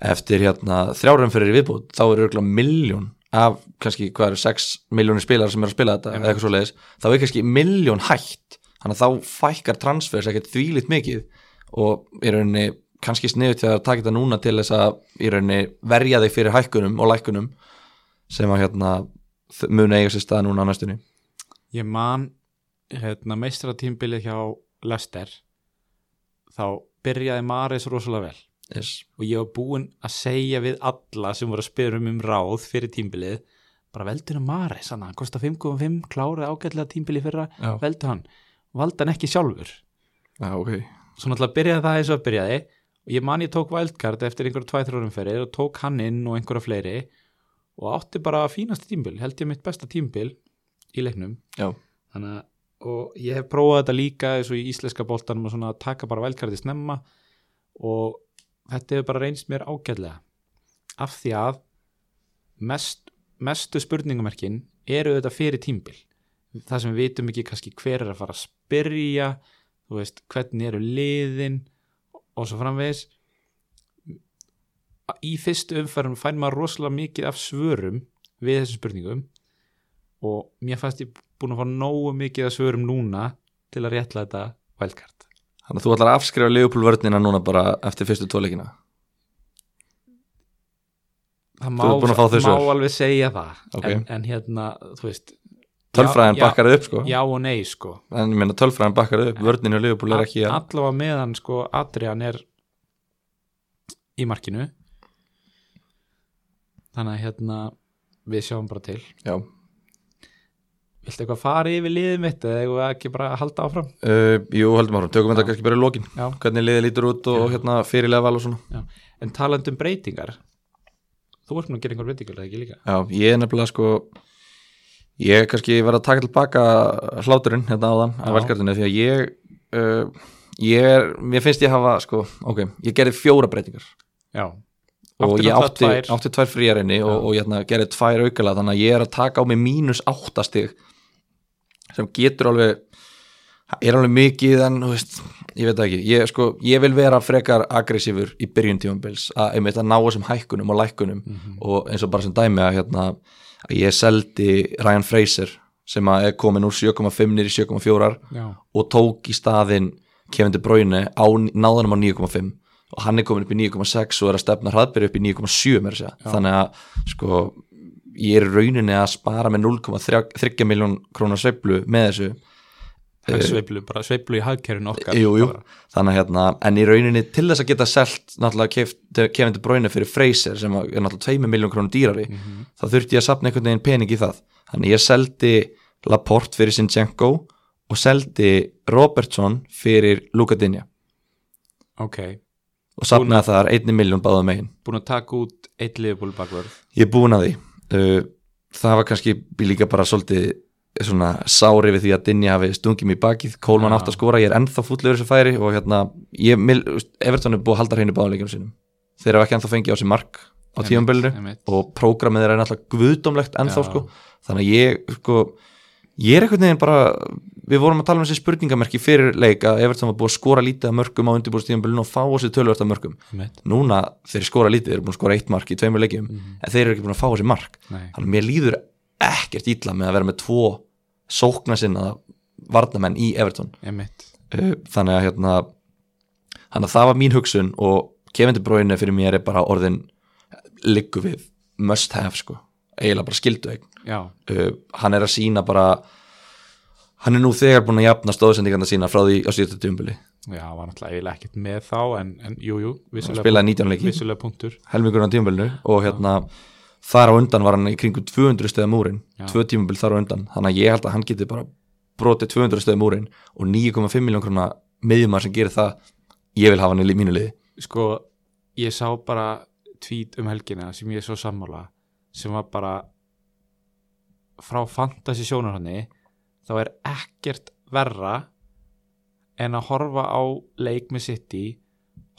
Speaker 2: eftir hérna, þrjárum fyrir viðbútt þá eru örgulega miljón af kannski hvað eru 6 miljónir spilar sem eru að spila þetta
Speaker 1: Einmitt.
Speaker 2: eða eitthvað svoleiðis, þá er kannski miljón hætt þannig að þá fækkar transfers ekkert þvílitt mikið og í rauninni kannski sniðut þegar að taka þetta núna til þess að í rauninni verja þig fyrir hækkunum og lækkunum sem að hérna þ- munu eiga sér stað núna á næstunni
Speaker 1: ég man hérna, meistratímbilið hjá Lester þá byrjaði Maris rosalega vel
Speaker 2: yes.
Speaker 1: og ég var búinn að segja við alla sem voru að spyrja um um ráð fyrir tímbilið bara veldur hann Maris, hann hann kostar 5,5 klárið ágætlega tímbilið fyrra,
Speaker 2: Já.
Speaker 1: veldu hann valda hann ekki sjálfur
Speaker 2: Já, okay.
Speaker 1: svo náttúrulega byrjaði það eins og það byrjaði og ég man ég tók wildcard eftir einhverja tvæ þrjórum fyrir og tók hann inn og einhverja fleiri og átti bara fínasta tímbil held ég mitt besta tímbil í leiknum
Speaker 2: Já.
Speaker 1: þannig að og ég hef prófað þetta líka eins og í íslenska boltanum og svona að taka bara wildcardi snemma og þetta hefur bara reynst mér ágætlega af því að mest, mestu spurningamerkin eru þetta fyrir tímbil það sem við vitum ekki kannski hver er að fara að spyrja þú veist, hvernig eru liðin og svo framvegis í fyrstu umferðum fær maður rosalega mikið af svörum við þessum spurningum og mér fannst ég búin að fá nógu mikið af svörum núna til að rétla þetta wildcard
Speaker 2: Þannig að þú ætlar að afskrifa Leopold vörnina núna bara eftir fyrstu tóleikina
Speaker 1: það má,
Speaker 2: ert búin að fá þau
Speaker 1: má
Speaker 2: svör?
Speaker 1: alveg segja það
Speaker 2: Ok.
Speaker 1: en, en hérna, þú veist
Speaker 2: Tölfræðin
Speaker 1: já,
Speaker 2: bakkar þau upp sko
Speaker 1: já og nei sko
Speaker 2: En ég meina tölfræðin bakkar þau upp, vörninu og Leopold er ekki að
Speaker 1: allavega meðan sko Adrian er í markinu þannig að hérna við sjáum bara til
Speaker 2: Já,
Speaker 1: Viltu eitthvað fara yfir liðið mitt eða eigum við ekki bara að halda áfram?
Speaker 2: uh, jú heldum áfram, tökum þetta kannski bara í lokin
Speaker 1: Já.
Speaker 2: Hvernig liðið lítur út og
Speaker 1: Já.
Speaker 2: hérna fyrirlega val og svona
Speaker 1: En talandi um breytingar, þú ert nú að gera einhver breytingar eða ekki líka?
Speaker 2: Já, ég er nefnilega sko Ég er kannski verið að taka tilbaka hláturinn hérna áðan
Speaker 1: Já.
Speaker 2: að velkartinu Því að ég, uh, ég er, mér finnst ég hafa sko, ok Ég gerði fjóra breytingar
Speaker 1: Já.
Speaker 2: og
Speaker 1: Áttu
Speaker 2: ég átti,
Speaker 1: náttúrulega tvær.
Speaker 2: átti tvær fríarinni og, og ég hérna, gerði tvær aukala þannig að ég er að taka á mig mínus áttastig sem getur alveg er alveg mikið en þú veist, ég veit það ekki ég, sko, ég vil vera frekar aggressífur í byrjun tímabils að, einmitt, að ná þessum hækkunum og lækkunum og eins og bara sem dæmi að, hérna, að ég seldi Ryan Fraser sem að er komin úr 7,5 niður í 7,4
Speaker 1: já,
Speaker 2: og tók í staðinn Kevin De Bruyne á náðanum á 9,5 og hann er komin upp í 9,6 og er að stefna hraðbyrju upp í 9,7 meira að segja. þannig að sko ég er í rauninni að spara með 0,3 miljón krónar sveiflu með þessu
Speaker 1: það er sveiflu, bara sveiflu í hagkerfinu okkar
Speaker 2: Eh, jú, jú. þannig að hérna, en í rauninni til þess að geta selt náttúrulega keypt- Kevin De Bruyne fyrir Fraser sem er náttúrulega 2 miljón krónum dýrari
Speaker 1: Mhm.
Speaker 2: þá þurfti ég að sapna einhvern veginn pening í það þannig ég seldi Laporte fyrir Sinchenko og seldi Robertson fyrir Luka Dinja
Speaker 1: ok,
Speaker 2: og sapnaði þar 1 miljón báðum megin
Speaker 1: búin að taka út eitt liðból bakvörð
Speaker 2: ég er búin að því Uh, það var kannski líka bara svolítið eh, svona sári við því að Dinja hafi stungið mér í bakið, Kólmann
Speaker 1: Já.
Speaker 2: átt að skora ég er ennþá fútlegur þessu færi og hérna ég, mil, Everton er búið að halda hreinu báðuleikum sínum þeir hafa ekki ennþá fengið á sig mark á tíumbölinu og prógramið þeirra er náttúrulega guðdómlegt ennþá
Speaker 1: Já.
Speaker 2: sko þannig að ég sko ég er einhvern veginn bara við vorum að tala um þessi spurningamerki fyrir leik að Everton var búið að skora lítið af mörgum á undirbúrstíðanbölinu og fá á sig tölvört af mörgum
Speaker 1: einmitt,
Speaker 2: núna þeir skora lítið, þeir eru búin að skora eitt mark í tveimur leikjum
Speaker 1: Mhm.
Speaker 2: en þeir eru ekki búin að fá á sig mark
Speaker 1: nei,
Speaker 2: þannig að mér líður ekkert ítla með að vera með tvo sókna sinna varnamenn í Everton
Speaker 1: einmitt
Speaker 2: Uh, þannig að hérna þannig að það var mín hugsun og kefindi bróinu fyrir mér er bara orðin liggu við must have sko, eiginlega bara skildu eign
Speaker 1: já,
Speaker 2: uh, hann er að sína bara hann er nú þegar búin að jafna stóðsendingarna sína frá því á síðustu tjumbili
Speaker 1: já, var náttúrulega eiginlega ekkert með þá en, en jú, jú,
Speaker 2: hann
Speaker 1: vissulega,
Speaker 2: spilaði 19 leiki,
Speaker 1: vissulega punktur
Speaker 2: helmingurinn á tjumbilinu og hérna þar á undan var hann í kringum 200 stöða múrin,
Speaker 1: Já.
Speaker 2: tvö tjumbil þar á undan þannig að ég held að hann geti bara brotið 200 stöða múrin og 9,5 miljón krona miðjumar sem gerir það ég vil hafa hann í li- mínu liði
Speaker 1: sko, ég sá bara tweet um helgina sem ég svo sammála sem var bara frá fantasy sjónarhanni þá er ekkert verra en að horfa á leik með City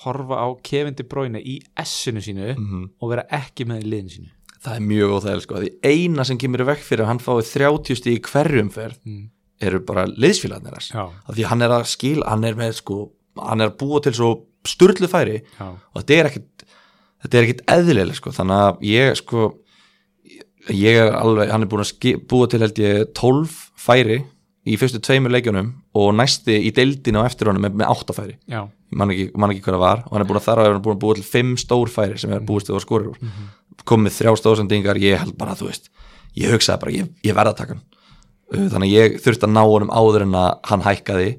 Speaker 1: horfa á kefindi bróinu í S-inu sínu og vera ekki með í liðinu sínu
Speaker 2: það er mjög óþægileg sko, því eina sem kemur í vekk fyrir að hann fái 30 stíð í hverjum ferð
Speaker 1: mm.
Speaker 2: eru bara liðsfélagarnir þess
Speaker 1: já,
Speaker 2: Af því hann er að skil, hann er með sko hann er að búa til svo sturlu færi
Speaker 1: já,
Speaker 2: og þetta er ekkit þetta er ekkit eðlilega sko, þannig að ég sko ég er alveg, hann er búin að ski, búa til held ég 12 færi í fyrstu tveimur leikjunum og næsti í deildinu á eftir honum með, með 8 færi
Speaker 1: já
Speaker 2: ég man ekki, man ekki hvað það var og hann er búin að þar á hann er búin að búa til 5 stór færi sem er búist við að skora úr komið þrjá stóðsendingar, ég held bara þú veist ég hugsaði bara, ég, ég verða að taka hann Uh, þannig að ég þurfti að ná honum áður en að hann hækkaði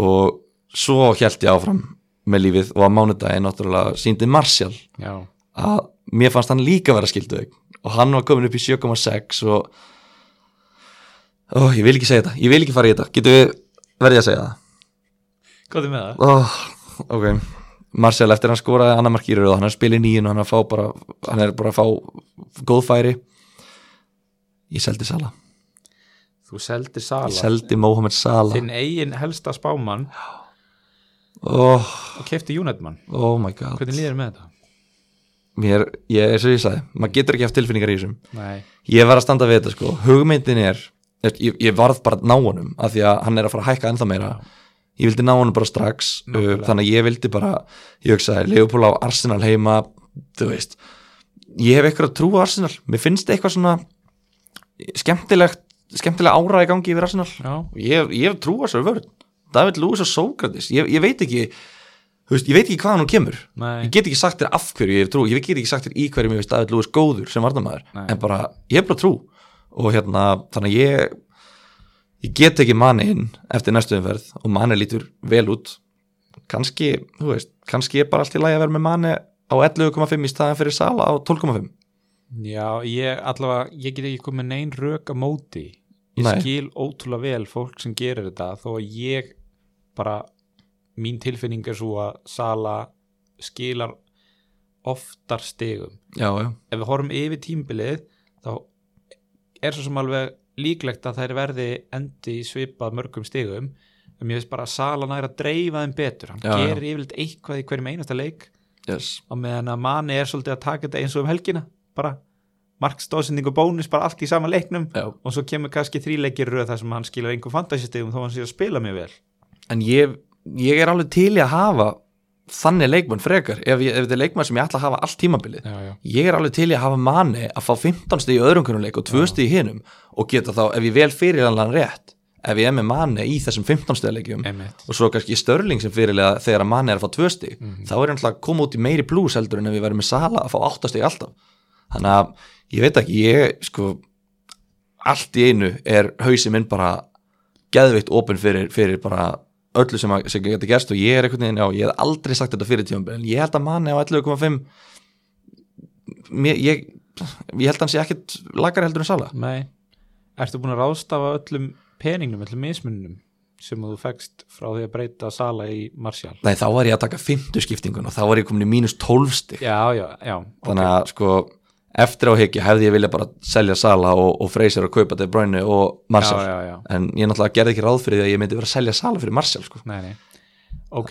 Speaker 2: og svo held ég áfram með lífið og á mánudaginn náttúrulega síndi Martial
Speaker 1: já,
Speaker 2: að mér fannst hann líka vera skildu og hann var komin upp í 7,6 og ó, ég vil ekki segja þetta, ég vil ekki fara í þetta getur við verðið að segja það
Speaker 1: hvað er með það?
Speaker 2: oh, ok Marcel eftir hann skoraði annar markýrur og hann er spilið nýjun og hann er, að fá bara, hann er bara að fá góð færi ég seldi Sala
Speaker 1: þú seldi
Speaker 2: ég
Speaker 1: Sala,
Speaker 2: seldi Mohamed Sala
Speaker 1: þinn eigin helsta spámann
Speaker 2: oh,
Speaker 1: og kefti United-mann
Speaker 2: oh my god
Speaker 1: hvernig líður þér með þetta?
Speaker 2: Mér, ég, eins og ég sagði, maður getur ekki haft tilfinningar í þessum
Speaker 1: Nei,
Speaker 2: ég var að standa við þetta sko hugmyndin er, ég, ég- ég varð bara að ná honum af því að hann er að fara að hækka ennþá meira ég vildi ná honum bara strax uh,
Speaker 1: Nákvæmlega.
Speaker 2: þannig að ég vildi bara, ég hugsaði Leopold á Arsenal heima, þú veist ég hef eitthvað að trúa Arsenal mér finnst eitthvað svona skemmtilegt, skemmtilega ára í gangi yfir Arsenal
Speaker 1: já,
Speaker 2: ég, ég hef trúa sér vörn David Lewis og Sókratis ég, ég veit ekki, þú veist, ég veit ekki hvaðan hún kemur
Speaker 1: nei
Speaker 2: ég get ekki sagt þér af hverju ég hef trú ég get ekki sagt þér í hverju mér finnst David Lewis góður sem varnamaður,
Speaker 1: Nei.
Speaker 2: en bara ég hef bara trú og hérna, þannig að ég ég get ekki manni inn eftir næstu umferð og manni lítur vel út kannski, þú veist, kannski er bara allt í lagi að vera með manni á 11,5 í staðan fyrir Sala á 12,5
Speaker 1: Já, ég allavega, ég get ekki komið neinn rök að móti. Ég
Speaker 2: Nei.
Speaker 1: skil ótrúlega vel fólk sem gerir þetta þó að ég bara, mín tilfinning er svo að Sala skilar oftar stigum.
Speaker 2: já, já,
Speaker 1: Ef við horfum yfir tímbilið þá er svo sem alveg líklegt að þær verði endi í svipað mörgum stigum en mér finnst bara að Sala næra að dreifa þeim betur. Hann
Speaker 2: Já, já.
Speaker 1: gerir yfirleitt eitthvað í hverjum einasta leik
Speaker 2: yes
Speaker 1: á meðan að manni er svolítið að taka þetta eins og um helgina bara, markstóðsendingu bónus bara allt í sama leiknum
Speaker 2: Já.
Speaker 1: og svo kemur kannski þríleikir röð þar sem hann skilur einhver fantasystegum þó hann sé að spila mjög vel
Speaker 2: en ég, ég er alveg til í að hafa þannig leikmann frekar ef, ég, ef þetta er leikmann sem ég ætla að hafa allt tímabilið
Speaker 1: já, já.
Speaker 2: ég er alveg til í að hafa manni að fá 15 stig í öðrum hvernig leik og 2 stig í hinum og geta þá, ef ég vel fyrirlega rétt ef ég er með manni í þessum 15 stig leikjum
Speaker 1: Einmitt.
Speaker 2: og svo kannski störling sem fyrirlega þegar að manni er að fá 2 stig
Speaker 1: Mhm.
Speaker 2: þá er hann alltaf að koma út í meiri blús heldur en ef ég væri með sala að fá 8 stig alltaf þannig að ég veit ekki, ég sko allt í einu er hausi minn bara geðveitt opinn fyrir, fyrir bara öllu sem, að, sem getur gerst og ég er einhvern veginn, já, ég hef aldrei sagt þetta fyrir tíum en ég held að manni á 11,5 mér, ég, ég held að hann sé ekkert lagar heldur en sala
Speaker 1: Nei, ertu búin að ráðstafa öllum peningnum, öllum mismunum sem þú fegst frá því að breyta sala í Marsjál
Speaker 2: Nei, þá var ég að taka 50 skiptingun og þá var ég komin í mínus 12 stig
Speaker 1: Já, já, já,
Speaker 2: þannig að sko eftir á higgja hefði ég vilja bara selja sala og, og freysir að kaupa til brænu og
Speaker 1: já,
Speaker 2: Marshall
Speaker 1: já, já.
Speaker 2: en ég náttúrulega gerði ekki ráð fyrir því að ég myndi vera að selja sala fyrir Marshall sko.
Speaker 1: Nei, nei. Ok,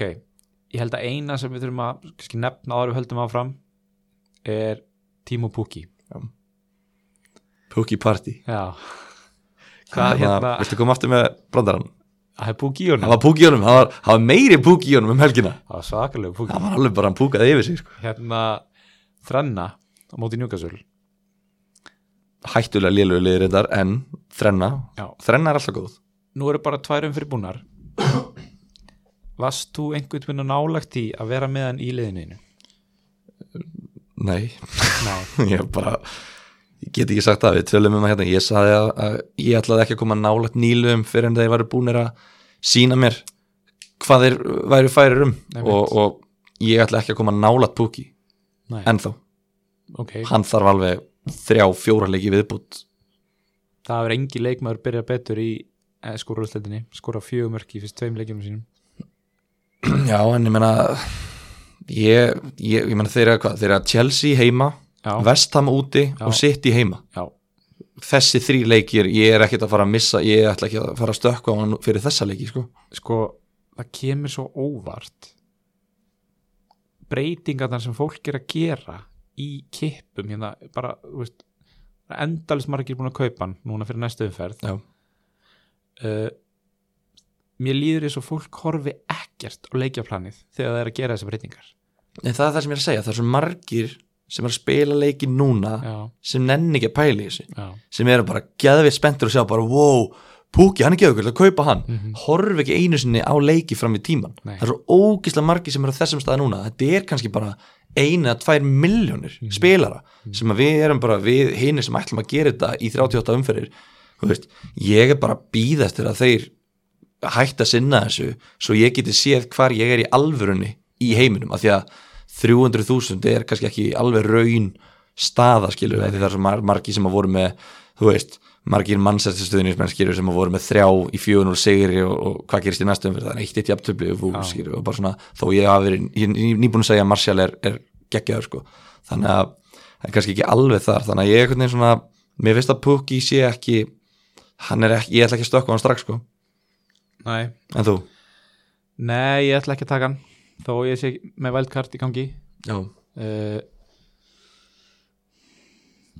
Speaker 1: ég held að eina sem við þurfum að kannski, nefna áður en við höldum áfram er Timo Pukki
Speaker 2: Pookie Party
Speaker 1: Já,
Speaker 2: Hvað,
Speaker 1: hvað hérna
Speaker 2: Viltu koma aftur með brandarann?
Speaker 1: Það er Pukki í
Speaker 2: Hann
Speaker 1: honum
Speaker 2: var púk í honum, hann var, hann var meiri púk í honum um helgina
Speaker 1: Það var svakalega Pukki
Speaker 2: Hann var alveg bara, hann púkaði yfir sig sko.
Speaker 1: Hérna þrenna á móti njúkasöl
Speaker 2: Hættulega lélugu liðir þetta en þrenna
Speaker 1: Já.
Speaker 2: Þrenna er alltaf góð
Speaker 1: Nú eru bara tværum fyrir búnar Varst þú einhvern veginn nálagt í að vera með hann í liðinu?
Speaker 2: Nei,
Speaker 1: Nei
Speaker 2: ég bara Ég get ekki sagt það, við tölum um að hérna Ég saði að, að ég ætlaði ekki að koma nálægt nýlum fyrir en þeir væru búnir að sína mér hvað þeir væru færir um
Speaker 1: Nei,
Speaker 2: og, og ég ætla ekki að koma nálægt púki
Speaker 1: Nei,
Speaker 2: ennþá,
Speaker 1: ok,
Speaker 2: hann þarf alveg þrjá, fjóra leiki viðbútt
Speaker 1: það er engi leikmaður byrjað betur í eh, skóraúsleitinni, skóra fjögumörk í fyrst tveim leikjum sínum
Speaker 2: Já, en ég meina ég, ég, ég meina þeirra hvað þeirra Chelsea heima,
Speaker 1: Já,
Speaker 2: Vestham úti
Speaker 1: Já.
Speaker 2: og City heima
Speaker 1: já,
Speaker 2: þessi þrý leikir, ég er ekkert að fara að missa ég ætla ekki að fara að stökkva á hann fyrir þessa leiki sko.
Speaker 1: sko, það kemur svo óvart breytingarnar sem fólk er að gera í kippum hérna, bara, þú veist endalist margir búin að kaupa hann núna fyrir næstu umferð
Speaker 2: Já.
Speaker 1: uh, Mér líður þess að fólk horfi ekkert á leikjaplanið þegar það er að gera þessar breytingar
Speaker 2: en það er það sem ég er að segja, það er svo margir sem er að spila leiki núna
Speaker 1: Já,
Speaker 2: sem nenni ekki að pæla í þessu
Speaker 1: já,
Speaker 2: sem eru bara geðvið spenntur og sjá bara wow, Púki, hann er geðvökul að kaupa hann
Speaker 1: Mhm.
Speaker 2: horf ekki einu sinni á leiki fram í tíman
Speaker 1: Nei.
Speaker 2: það er svo ógislega margi sem eru á þessum stað núna þetta er kannski bara eina, tvær miljónir
Speaker 1: Mm.
Speaker 2: spilara sem að við erum bara, við hinir sem ætlum að gera þetta í 38 umferðir þú veist, ég er bara að býða eftir að þeir hætta að sinna þessu svo ég geti séð hvar ég er í alvörunni í heiminum, af því að 300.000 er kannski ekki alveg raun staða skilur, af því það er svo mar margi sem að voru með, þú veist margir mannsættistuðinir menn skilur sem að voru með þrjá í 400 sigri og, og hvað gerist í næstum fyrir það er eitt eitt jafntöfli og fú,
Speaker 1: Já.
Speaker 2: skilur og bara svona, þó ég hafi verið, ég er nýbúin að segja að Martial er, er geggjaður sko þannig að það er kannski ekki alveg þar þannig að ég er einhvern veginn svona, mér finnst að Pukki sé ekki, hann er ekki ég ætla ekki að stökka á hann strax sko,
Speaker 1: nei
Speaker 2: en þú?
Speaker 1: Nei, ég ætla ekki að taka hann þó ég sé með vældkart í gangi
Speaker 2: Já,
Speaker 1: uh,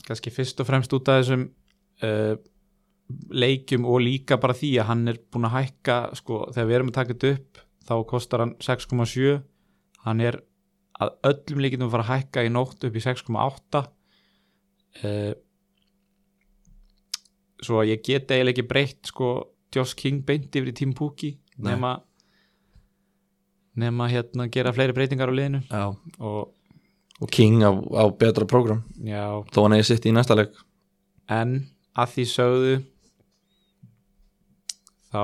Speaker 1: kannski fyrst og fremst út af þessum uh, leikjum og líka bara því að hann er búin að hækka sko, þegar við erum að taka þetta upp þá kostar hann 6,7 hann er að öllum líkindum að fara að hækka í nótt upp í 6,8 uh, svo að ég get eiginlega ekki breytt sko Josh King beint yfir í Team Pookie
Speaker 2: Nei.
Speaker 1: nema nema hérna gera fleiri breytingar á liðinu
Speaker 2: já
Speaker 1: og
Speaker 2: og King á, á betra prógram
Speaker 1: Já,
Speaker 2: þó hann eigi sitt í næsta leik
Speaker 1: en að því sögðu þá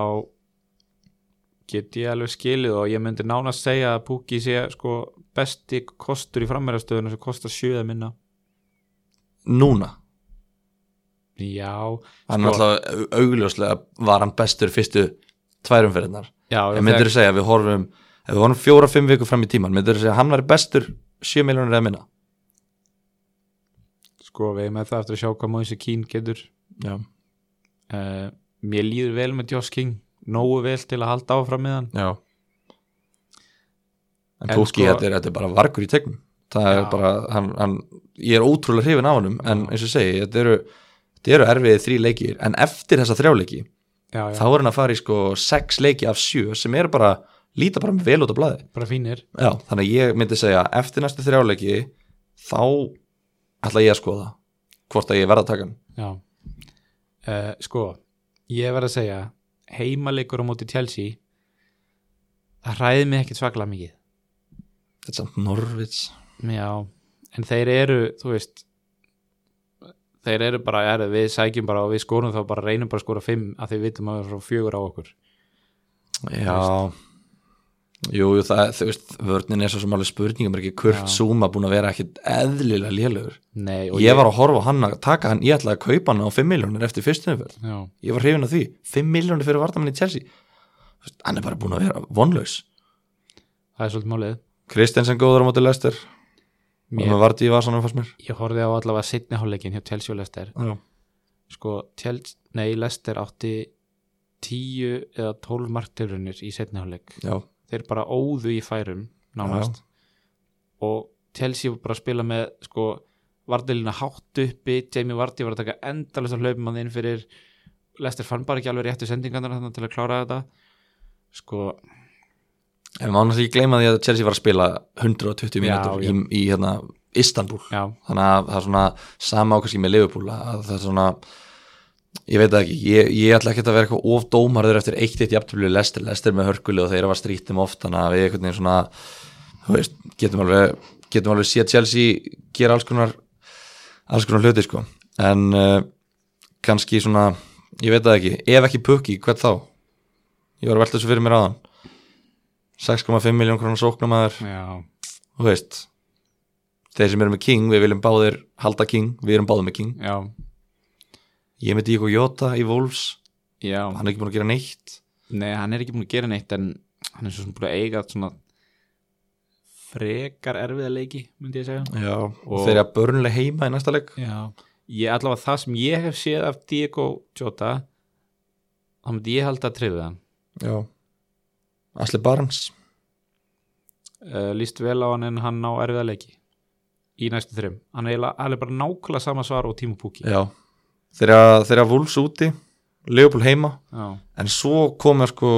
Speaker 1: get ég alveg skilið og ég myndi nánast segja að Pukki sé sko besti kostur í framverðastöðunum sem kostar sjöða minna.
Speaker 2: núna,
Speaker 1: Já,
Speaker 2: hann
Speaker 1: Sko.
Speaker 2: alltaf augljóslega var hann bestur fyrstu tværumferðinar
Speaker 1: já,
Speaker 2: En myndir þú segja að við horfum ef við horfum fjóra, fimm vikur fram í tíman myndir þú segja að hann væri bestur 7 miljónir eða minna
Speaker 1: sko við erum með það eftir að sjá hvað Moise Keane getur.
Speaker 2: Já,
Speaker 1: Uh, mér líður vel með Josh King, nógu vel til að halda áfram með hann.
Speaker 2: já En
Speaker 1: En
Speaker 2: Pukki,
Speaker 1: sko-
Speaker 2: þetta, er, þetta er bara vargur í tegnum það er
Speaker 1: Já.
Speaker 2: bara, hann, hann, ég er ótrúlega hrifin á honum, en eins og ég segi þetta eru, þetta eru erfiðið þrý leikir en eftir þessa þrjá leiki,
Speaker 1: já, já,
Speaker 2: þá er hann að fara í sko sex leiki af sjö sem er bara, líta bara vel út á blaði
Speaker 1: bara fínir
Speaker 2: Já, þannig að ég myndi segja eftir næstu þrjáleiki þá ætla ég að skoða hvort að ég verða að taka hann
Speaker 1: já. Uh, sko, ég verð að segja heimaleikur á móti Chelsea það hræði mig ekkit svaklega mikið
Speaker 2: Þetta er samt Norvits
Speaker 1: Já, en þeir eru, þú veist þeir eru bara, er, við sækjum bara og við skorum þá bara reynum bara að skora fimm að því við vitum að það er frá fjögur á okkur
Speaker 2: Já Jú, jú, það, þú veist, vörnin er svo sem alveg spurningum er ekki
Speaker 1: Já.
Speaker 2: Kurt Zuma búin að vera ekkit eðlilega lélugur
Speaker 1: Nei,
Speaker 2: Ég var að horfa á hann að taka hann, ég ætlaði að kaupa hann á 5 miljónir eftir fyrstu umferð
Speaker 1: Já,
Speaker 2: Ég var hrifin á því, 5 miljónir fyrir vartamann í Chelsea Þú veist, Hann er bara búin að vera vonlaus
Speaker 1: það er svolítið málið
Speaker 2: Kristensen góður á móti lestir
Speaker 1: Mér-
Speaker 2: Mér vart í vasanum fannst mér
Speaker 1: Ég horfði á allavega seinni hálfleikin hjá Chelsea og Lester
Speaker 2: Já.
Speaker 1: sko, Chelsea, nei, Lester átti tíu eða tólf marktilrunir í seinni hálfleik
Speaker 2: Já,
Speaker 1: þeir bara óðu í færum nánast og Chelsea var bara að spila með sko, Vardilina hátt uppi Jamie Vardy var að taka endalist að hlaupum hann inn fyrir Lester fann bara ekki alveg réttu sendingarnar þannig til að klára þetta sko,
Speaker 2: En maður náttúrulega ekki gleyma því að Chelsea var að spila 120 mínútur
Speaker 1: Já, já.
Speaker 2: í, í hérna, Istanbul
Speaker 1: já,
Speaker 2: þannig að það er svona sama á kannski með Liverpool að það er svona ég veit það ekki, ég, ég ætla ekki að vera eitthvað of dómarður eftir eitt eitt jafntöflu lestir, lestir með hörkuli og þeir eru að strítum oft þannig að við einhvern veginn svona þú veist, getum alveg, getum alveg séð Chelsea gera alls konar alls konar hluti sko en uh, kannski svona ég veit það ekki, ef ekki pukki, hvern þá ég var að velta þessu fyrir mér áðan 6,5 miljón krónar sóknamaður
Speaker 1: já
Speaker 2: þú veist þeir sem eru með King, við viljum báðir halda King, við erum báðir með King
Speaker 1: já,
Speaker 2: ég er með Diego Jota í Wolves
Speaker 1: já
Speaker 2: hann er ekki búin að gera neitt
Speaker 1: nei, hann er ekki búin að gera neitt en hann er svo sem búin að eiga svona frekar erfiða leiki myndi ég segja
Speaker 2: já, og þeir eru að börnlega heima í næsta leik
Speaker 1: Já, ég allavega það sem ég hef séð af Diego Jota þá myndi ég halda að treyða hann
Speaker 2: já Asli Barnes,
Speaker 1: uh, líst vel á hann en hann á erfiðarleiki í næstu þrim hann er, eiginlega- hann er bara nákvæmlega sama svar og tímupúki
Speaker 2: já þeir eru að- þeir eru að Wolves úti Leopold heima,
Speaker 1: já,
Speaker 2: en svo komur sko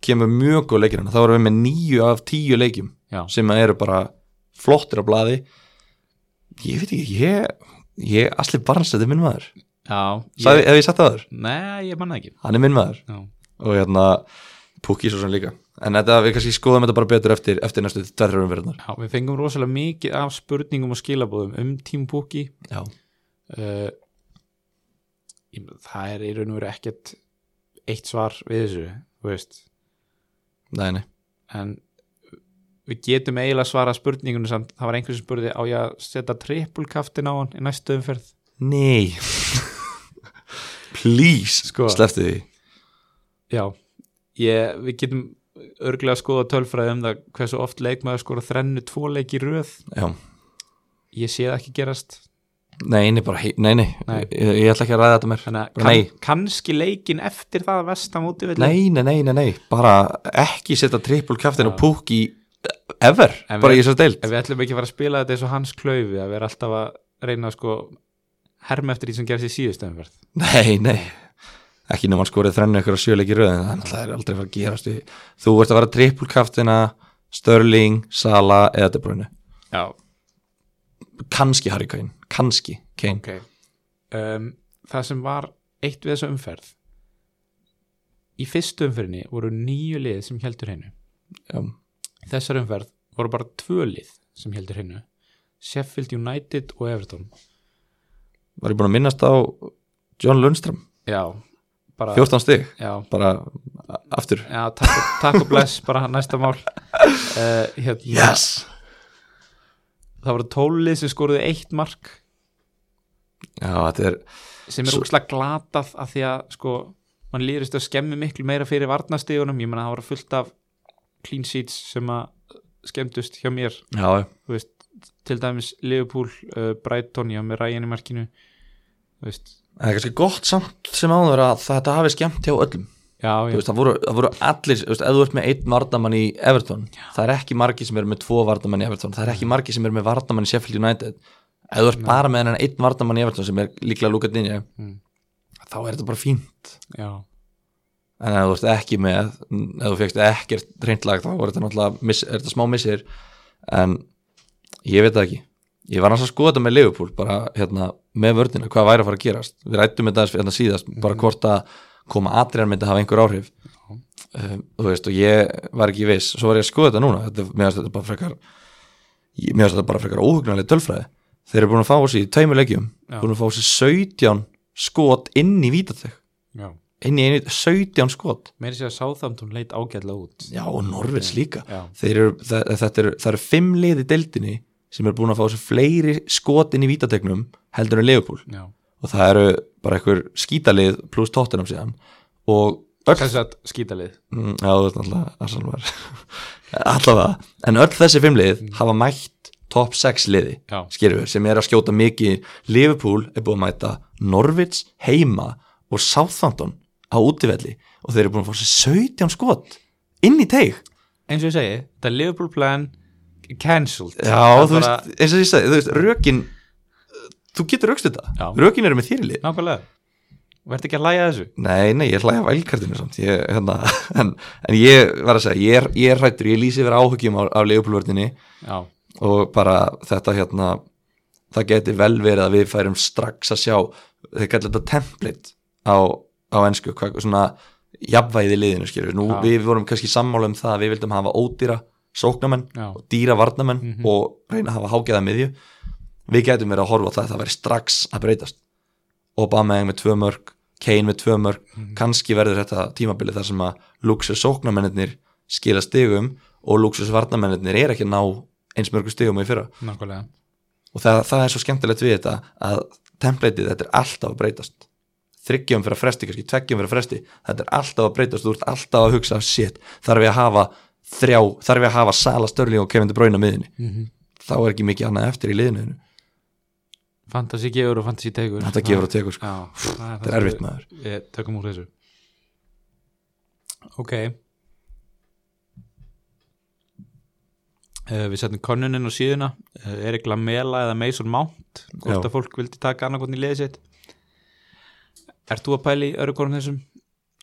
Speaker 2: kemur mjög góð leikir hann, þá erum við með nýju af tíu leikjum
Speaker 1: já,
Speaker 2: sem eru bara flottir á blaði ég veit ekki, ég, ég Asli Barnes, þetta er minn maður
Speaker 1: já
Speaker 2: Sagði,
Speaker 1: ég,
Speaker 2: hef ég sagt það þaður?
Speaker 1: nei, ég manna ekki
Speaker 2: hann er minn maður
Speaker 1: já,
Speaker 2: og hérna Pukki svo sem líka en þetta, við kannski skoðum þetta bara betur eftir, eftir næstu tverjum verðnar
Speaker 1: já, við fengum rosalega mikið af spurningum og skilabóðum um tímupúki
Speaker 2: já.
Speaker 1: uh, ég, það er í raun og veru ekkert eitt svar við þessu þú veist
Speaker 2: Nei, nei.
Speaker 1: en við getum eiginlega svarað spurningunum samt, það var einhver sem spurði á ég að setja trippulkaftin á hann í næstu umferð
Speaker 2: nei. please
Speaker 1: Sko.
Speaker 2: sko. slefti því
Speaker 1: já, ég, við getum örglega að skoða tölfræði um það hversu oft leikmaður skora þrennu tvo leik í röð
Speaker 2: já.
Speaker 1: ég sé það ekki gerast
Speaker 2: nei, nei, bara, hei- nei, nei.
Speaker 1: Nei.
Speaker 2: Ég, ég ætla ekki að ræða þetta mér
Speaker 1: þannig að
Speaker 2: Nei.
Speaker 1: kann, kannski leikin eftir það að vestam út yfir
Speaker 2: nei, nei, nei, nei, nei, bara ekki setja triple kaftin og
Speaker 1: Já.
Speaker 2: Pukki ever,
Speaker 1: En
Speaker 2: bara
Speaker 1: við-
Speaker 2: í þessu deild
Speaker 1: ef við ætlum ekki að fara að spila þetta eins og hans klaufi að við erum alltaf að reyna að sko herma eftir því sem gerst í síðustu umferð
Speaker 2: nei, nei ekki nema hann skorið þrennu ykkur á sjöleiki röð en þannig að það er aldrei að fara að gerast í- þú ert að vera triple kaftina Störling, Sala eða De Bruyne
Speaker 1: já,
Speaker 2: kannski Harry Kane, kannski Kane
Speaker 1: Ok um, Það sem var eitt við þessu umferð Í fyrstu umferðinni voru nýju lið sem heldur hennu
Speaker 2: já,
Speaker 1: Í þessari umferð voru bara tvö lið sem heldur hennu Sheffield United og Everton
Speaker 2: var ég búin að minnast á John Lundström,
Speaker 1: Já, bara
Speaker 2: 14 stig
Speaker 1: Já,
Speaker 2: bara a- aftur
Speaker 1: já takk, og- takk og bless bara næsta mál uh, hérna, Það voru tólið sem skoruðu eitt mark
Speaker 2: já, þetta er,
Speaker 1: sem er
Speaker 2: Svo-
Speaker 1: úkslega glatað af því að sko, mann lýrist að skemmi miklu meira fyrir varnastígunum, ég menna það voru fullt af clean sheets sem að skemmtust hjá mér,
Speaker 2: já,
Speaker 1: þú veist til dæmis Liverpool, uh, Brighton já, með Ryan í markinu þú veist,
Speaker 2: það er kannski gott samt sem áður að þetta hafi skemmt hjá öllum
Speaker 1: já,
Speaker 2: Þú
Speaker 1: já,
Speaker 2: veist, það, voru, það voru allir, þú veist, ef þú ert með einn vardamann í Everton, það er ekki margi sem eru með tvo vardamann í Everton, það er ekki margi sem eru með vardamann í Sheffield United ef þú ert bara með hennan einn vardamann í Everton sem er líklega Luka Dinja
Speaker 1: Mm.
Speaker 2: þá er þetta bara fínt
Speaker 1: já,
Speaker 2: en ef þú ert ekki með ef þú fegst ekkert reyndlag þá er þetta náttúrulega miss, er þetta smá missir en ég veit það ekki ég var náttúrulega að skoða þetta með Liverpool bara hérna með vördina, hvað væri að fara að gerast við rættum þetta aðeins hérna síðast bara hvort að koma atriðan myndi að hafa einhver áhrif um, þú veist og ég var ekki viss svo var ég að skoða þetta núna þetta, mér finnst þetta bara frekar ég- mér finnst þetta bara frekar óhugnarlega tölfræði þeir eru búin að fá sér í tveimur leikjum
Speaker 1: Já.
Speaker 2: búin að fá sér 17 skot inn í vítateg
Speaker 1: já.
Speaker 2: inn í einu 17 skot
Speaker 1: meiri sér að Southampton leit ágætlega út
Speaker 2: Já, og Norvins líka
Speaker 1: já,
Speaker 2: Þeir eru, það, þetta eru, það eru fimm lið í deildinni sem eru búin að fá þessu fleiri skotin í vítategnum heldur en Leopold
Speaker 1: já
Speaker 2: og það eru bara einhver skítalið pluss tóttunum síðan og öll,
Speaker 1: Kansi að skítalið
Speaker 2: Mm, já, þú veist náttúrulega Arsenal var allavega, en öll þessi fimm lið hafa mætt top 6 liði
Speaker 1: Já.
Speaker 2: skilur, sem er að skjóta mikið Liverpool er búin að mæta Norvits heima og Southampton á útivelli og þeir eru búin að fá þessu 17 skot inn í teig
Speaker 1: Eins og ég segi, þetta er Liverpool plan cancelled
Speaker 2: Já,
Speaker 1: Það
Speaker 2: þú
Speaker 1: er bara-
Speaker 2: veist, eins og ég sagði, þú veist, rökin þú getur rökst þetta,
Speaker 1: Já.
Speaker 2: rökin eru með þýrili
Speaker 1: Nákvæmlega Vertu ekki að læja þessu
Speaker 2: Nei, nei, ég hlæði af ælkartinu samt ég, hérna, en, en ég var að segja ég er, ég er hrættur, ég lýsi verið áhugjum af, af leifupulvörninni
Speaker 1: Já,
Speaker 2: og bara þetta hérna það geti vel verið að við færum strax að sjá þeir kallar þetta template á, á ensku, hvað, svona jafnvæði í liðinu, skilur, nú
Speaker 1: Já.
Speaker 2: við vorum kannski sammála um það að við vildum hafa ódýra sóknamenn
Speaker 1: já,
Speaker 2: og dýra varnamenn
Speaker 1: Mhm.
Speaker 2: og reyna að hafa hágæða miðju við gætum verið að horfa á það að það væri strax að breytast Obameyang með tvö mörg Kane með tvö mörg, kannski verður þetta tímabili þar sem að luxus sóknamennir skila stigum og luxus varnamennir er ekki að ná eins mörgu stigum í fyrra
Speaker 1: nákvæmlega
Speaker 2: og það, það er svo skemmtilegt við þetta að templateið þetta er alltaf að breytast þryggjum fyrir að fresti, kannski tveggjum fyrir að fresti þetta er alltaf að breytast, þú ert alltaf að hugsa shit, þarf ég að hafa þrjá, þarf ég að hafa Sala Störling og Kevin De Bruyne á miðinni þá er ekki mikið annað eftir í liðinu þínu.
Speaker 1: Fantasy gefur og fantasy tegur
Speaker 2: þetta gefur og tekur sko,
Speaker 1: Já, það
Speaker 2: þetta er erfitt maður
Speaker 1: Ég tökum úr þessu Ok uh, Við setjum konuninn á síðuna uh, Erik Lamela eða Mason Mount
Speaker 2: Já.
Speaker 1: hvort að fólk vildi taka annarkotn í liðið sitt Ert þú að pæli í öru konum þessum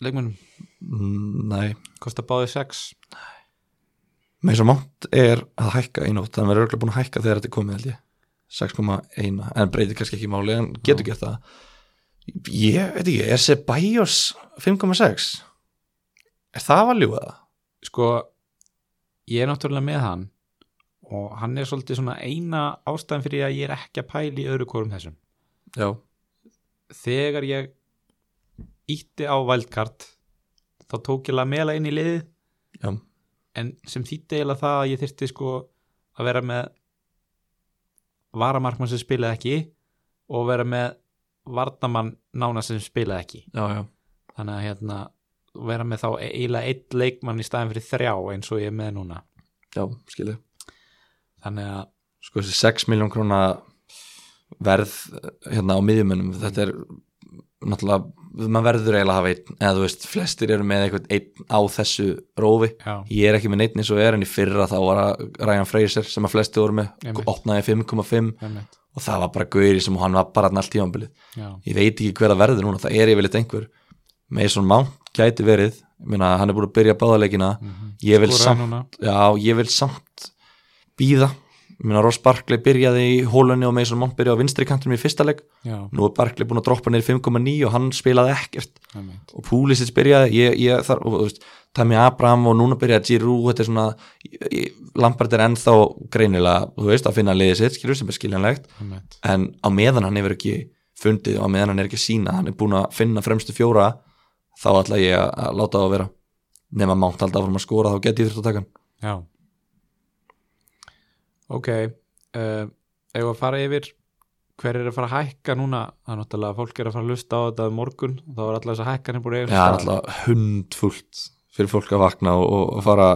Speaker 1: leikmennum?
Speaker 2: Mm, nei,
Speaker 1: Kosta báðið 6
Speaker 2: með svo mátt er að hækka í nótt, þannig verður örgulega búin að hækka þegar þetta er komið held ég 6,1, en breytir kannski ekki máli en getur gert það ég veit ekki, er Sebajos 5,6 er það valjúða?
Speaker 1: Sko, ég er náttúrulega með hann og hann er svolítið svona eina ástæðan fyrir að ég er ekki að pæli í öru konum þessum
Speaker 2: Já,
Speaker 1: þegar ég ítti á wildcard þá tók ég Lamela inn í liðið
Speaker 2: já,
Speaker 1: en sem þýtti eiginlega það að ég þyrfti sko að vera með varamarkmann sem spilaði ekki og vera með varnamann nána sem spilaði ekki
Speaker 2: já, já
Speaker 1: þannig að hérna vera með þá e-, eiginlega eitt leikmann í staðin fyrir þrjá eins og ég er með núna
Speaker 2: Já, skilji
Speaker 1: þannig að
Speaker 2: Sko þessi 6 miljón króna verð hérna á miðjumennum þetta er náttúrulega maður verður eiginlega að hafa einn eða þú veist, flestir eru með einhvern einn á þessu rófi
Speaker 1: já,
Speaker 2: ég er ekki með neitt eins og er en í fyrra þá var að Ryan Fraser sem að flesti voru með
Speaker 1: Einmitt.
Speaker 2: opnaði 5,5
Speaker 1: einmitt,
Speaker 2: og það var bara gauri sem hann var bara þarna allt tímanbilið
Speaker 1: já,
Speaker 2: ég veit ekki hver að verður núna, það er yfirleitt einhver Mason Mount gæti verið Ég meina, hann er búin að byrja báðarleikina
Speaker 1: mhm.
Speaker 2: ég vil
Speaker 1: Skoraði
Speaker 2: samt
Speaker 1: núna,
Speaker 2: Já, ég vil samt býða Minna Ross Barkley byrjaði í hólunni og Mason Mount byrjaði á vinstri kantinum í fyrsta leik
Speaker 1: já,
Speaker 2: Nú er Barkley búin að droppa niður í 5,9 og hann spilaði ekkert
Speaker 1: einmitt,
Speaker 2: og Púlisins byrjaði, ég, ég þar og, þú veist, Tammy Abraham og núna byrjaði Giroud þetta er svona, ég- ég- Lampard er ennþá greinilega, þú veist, að finna liðið sitt skilur sem er skiljanlegt,
Speaker 1: einmitt
Speaker 2: en á meðan hann hefur ekki fundið og á meðan hann er ekki að sína, hann er búin að finna fremstu fjóra, þá ætla ég að, að láta það að vera, nema Mount alltaf að skora, þá geti ég þurft að taka hann
Speaker 1: Já Ok uh, Ef að fara yfir hver er að fara að hækka núna það er náttúrulega að fólk er að fara að lusta á þetta um morgun þá er alltaf þess að hækkanir búin að eiga
Speaker 2: Já, það er alltaf hundfullt fyrir fólk að vakna og, og fara,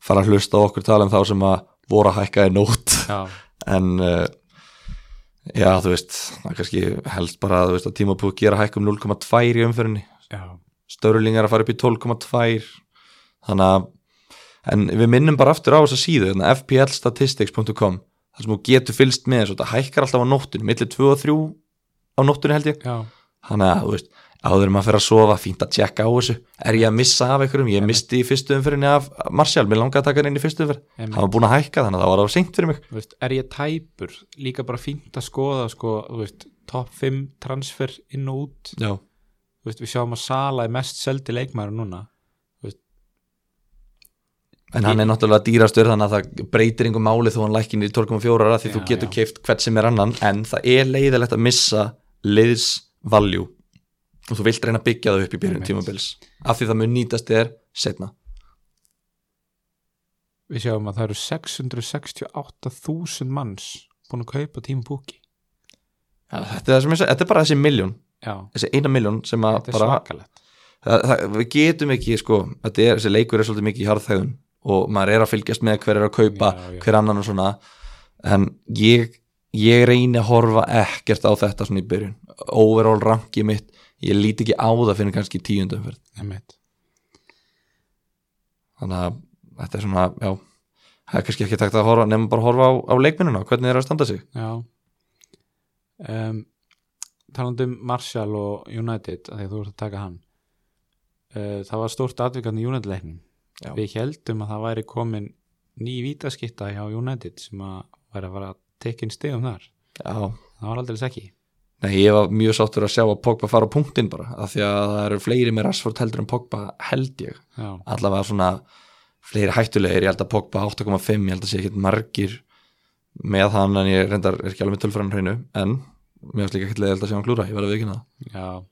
Speaker 2: fara að hlusta á okkur tala um þá sem að voru að hækka í nót
Speaker 1: alltaf
Speaker 2: en uh, já, þú veist, það er kannski helst bara þú veist, að tímabúið gera hækkum 0,2 í umfyrinni
Speaker 1: Já, já,
Speaker 2: Störling er að fara upp í 12,2 þannig að en við minnum bara aftur á þessa síðu hérna, fplstatistics.com þar sem þú getur fylst með þessu, þetta hækkar alltaf á nóttunni millir 2 og 3 á nóttunni held ég
Speaker 1: já,
Speaker 2: þannig að, þú veist, áður en maður fyrir að sofa fínt að tjekka á þessu, er ég að missa af einhverjum, ég misti í fyrstu umfyrinni af Marcial, mér langaði að taka hann inn í fyrstu umfyrinni
Speaker 1: emi,
Speaker 2: hann var búin að hækka þannig að það var það var seint fyrir mig
Speaker 1: þú veist, er ég tæpur líka bara fínt að skoða sko, þú veist, top 5 transfer inn og út,
Speaker 2: já,
Speaker 1: þú veist, við sjáum að Sala er mest seldi leikmæður núna
Speaker 2: en hann er náttúrulega dýrastur þannig að það breytir einhver máli þó hann lækkin í 12,4 að því þú
Speaker 1: Já,
Speaker 2: getur
Speaker 1: já.
Speaker 2: keift hvert sem er annan en það er leiðilegt að missa liðs value og þú vilt reyna að byggja það upp í byrjun
Speaker 1: Einmitt.
Speaker 2: tímabils af því það mun nýtast þér setna
Speaker 1: við sjáum að það eru 668.000 manns búin að kaupa tímabúki
Speaker 2: þetta er, það sem ég segi, þetta er bara þessi miljón
Speaker 1: já,
Speaker 2: þessi eina miljón sem að
Speaker 1: þetta er
Speaker 2: bara
Speaker 1: svakalegt
Speaker 2: það, það, við getum ekki sko, þetta er, þessi leikur er svolítið mikið í harðþægun og maður er að fylgjast með hver er að
Speaker 1: Já,
Speaker 2: kaupa
Speaker 1: já.
Speaker 2: hver annan og svona en ég, ég reyni að horfa ekkert á þetta svona í byrjun overall ranki mitt, ég líti ekki á það fyrir kannski tíundumferð
Speaker 1: Einmitt.
Speaker 2: þannig að þetta er svona, já það er kannski ekki takt að horfa, nefnum bara að horfa á, á leikminnuna, hvernig þeir eru að standa sig
Speaker 1: Já um, Talandi um Marshall og United að því að þú ert að taka hann uh, það var stórt atvikandi United
Speaker 2: Já.
Speaker 1: leiknum við heldum að það væri komin ný vítaskitta hjá United sem að væri að vera tekin stegum þar
Speaker 2: já,
Speaker 1: það var aldrei ekki
Speaker 2: Nei, ég var mjög sáttur að sjá að Pogba fara á punktinn bara, af því að það eru fleiri með Rashford heldur en Pogba held ég
Speaker 1: Já,
Speaker 2: allavega svona fleiri hættulegir, ég held að Pogba 8,5 ég held að sé ekkert margir með hann en ég reyndar er ekki alveg með tölfræðan hreinu en mér finnst líka ekkert leiðilegt að sjá hann klúra ég verði að viðkynna það
Speaker 1: já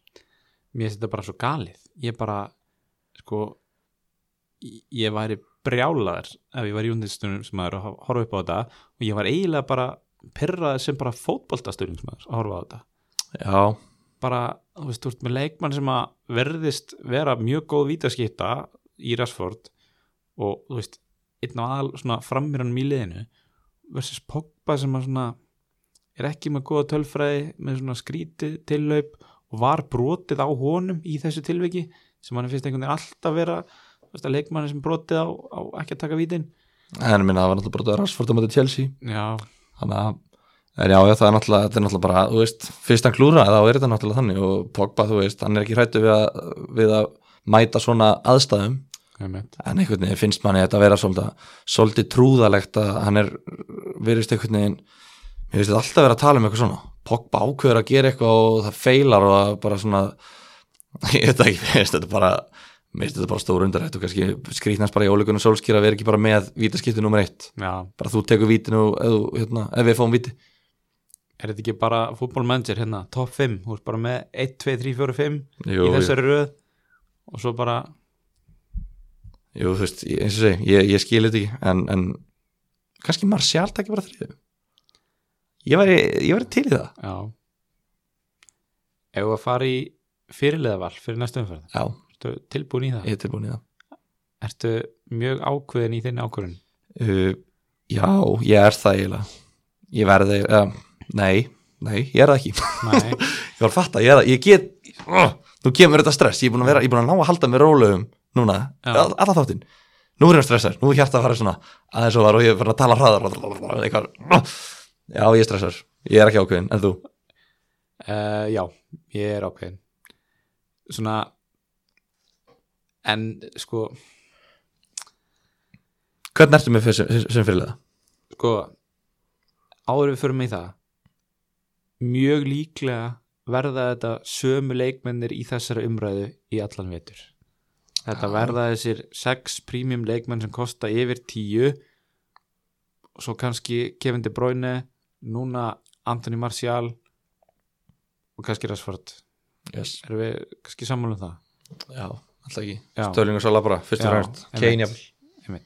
Speaker 1: Mér finnst þetta bara svo galið ég bara, sko ég- ég væri brjálaðar ef ég var júndistunum sem maður að horfa upp á þetta og ég var eiginlega bara pyrraði sem bara fótboltastunum sem maður að horfa á þetta
Speaker 2: Já,
Speaker 1: bara, þú veist, þú ert með leikmann sem að verðist vera mjög góð vítaskipta í Rashford og, þú veist, einn og aðal svona framýranum í liðinu versus Pogba sem að svona er ekki með góða tölfræði með svona skríti tillaup og var brotið á honum í þessu tilviki sem hann finnst einhvern veginn alltaf vera þú veist, að leikmann sem brotið á, á ekki að taka vítin
Speaker 2: en minna það var náttúrulega bara Rashford á mæti Chelsea
Speaker 1: Já,
Speaker 2: þannig að en já, já, það er náttúrulega, þetta er náttúrulega bara, þú veist fyrst hann klúra, þá er þetta náttúrulega þannig og Pogba, þú veist, hann er ekki hrættu við að, við að mæta svona aðstæðum
Speaker 1: einmitt
Speaker 2: en einhvern veginn finnst manni þetta að vera svolítið, svolítið trúðalegt að hann er virðist einhvern veginn mér finnst þetta alltaf vera að tala um eitthvað svona Pogba ákveður að gera eitthvað og það feilar og það bara svona ég veit það ekki, mér finnst þetta bara mér finnst þetta bara stór undarætt og kannski skrýtnast bara í óleikunum sólskýra að vera ekki bara með vítaskipti nummer eitt,
Speaker 1: Já,
Speaker 2: bara þú tekur vítinu eða hérna, ef við fáum víti
Speaker 1: er þetta ekki bara fútbolmanager hérna, top 5, þú ert bara með 1, 2, 3, 4, 5
Speaker 2: Jú,
Speaker 1: í
Speaker 2: jú.
Speaker 1: þessari röð og svo bara
Speaker 2: Jú, þú veist, ég- eins og segi, ég, ég skil þetta ekki en, en kannski Marcial takir bara þriðu ég væri, ég væri til í það
Speaker 1: já ef við að fara í fyrirliðaval fyrir næstu umferð,
Speaker 2: já,
Speaker 1: ertu tilbúin í það
Speaker 2: ég er tilbúin í það
Speaker 1: ertu mjög ákveðin í þinni ákvörðin
Speaker 2: uh, já, ég er það eiginlega ég verði uh, nei, nei, ég er það ekki ég
Speaker 1: nei,
Speaker 2: var að fatta, ég er það, ég get uh, nú kemur þetta stress, ég er búin að vera ég er búin að ná að halda mér rólegum núna
Speaker 1: Já.
Speaker 2: all, alla þáttinn, nú er ég stressar nú er hjarta að fara svona, aðeins og var og ég er farin að tala hraðar eitthvað uh, já, ég er stressar, ég er ekki ákveðin en þú,
Speaker 1: uh, já, ég er ákveðin svona en sko
Speaker 2: hvernig ertu með fyrir, sem, sem fyrir það?
Speaker 1: sko áður en við förum í það mjög líklega verða þetta sömu leikmennir í þessari umræðu í allan vetur þetta
Speaker 2: Já.
Speaker 1: verða þessir sex prímjum leikmenn sem kosta yfir tíu og svo kannski Kevin De Bruyne núna Anthony Martial og kannski Rashford
Speaker 2: Yes.
Speaker 1: erum við kannski sammála um það
Speaker 2: já, alltaf ekki,
Speaker 1: Já.
Speaker 2: stöðling og sala bara fyrst og
Speaker 1: Já,
Speaker 2: fremst,
Speaker 1: einmitt.
Speaker 2: Kane jafnvel.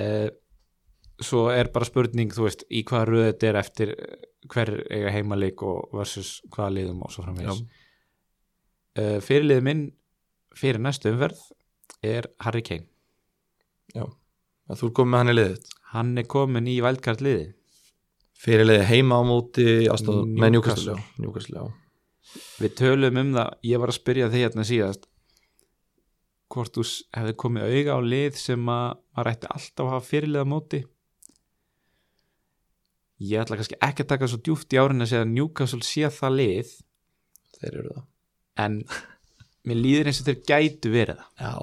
Speaker 1: uh, svo er bara spurning þú veist, í hvaða röð þetta er eftir eh, hver eiga heimaleik og versus hvaða liðum og svo framvegis uh, fyrirlið minn fyrir næstu umverð er Harry Kane
Speaker 2: Að þú er komið með hann í liðið
Speaker 1: hann er komin í vældkart liði
Speaker 2: fyrirliði heima á móti aðstoð, nei,
Speaker 1: Newcastle.
Speaker 2: Newcastle já. Newcastle, já
Speaker 1: við tölum um það, ég var að spyrja þig hérna síðast hvort þú s- hefði komið auga á lið sem að maður ætti alltaf að hafa fyrirliða á móti ég ætla kannski ekki að taka svo djúft í árinni að segja að Newcastle sé það lið
Speaker 2: þeir eru það
Speaker 1: en mér líður eins og þeir gætu verið það
Speaker 2: já,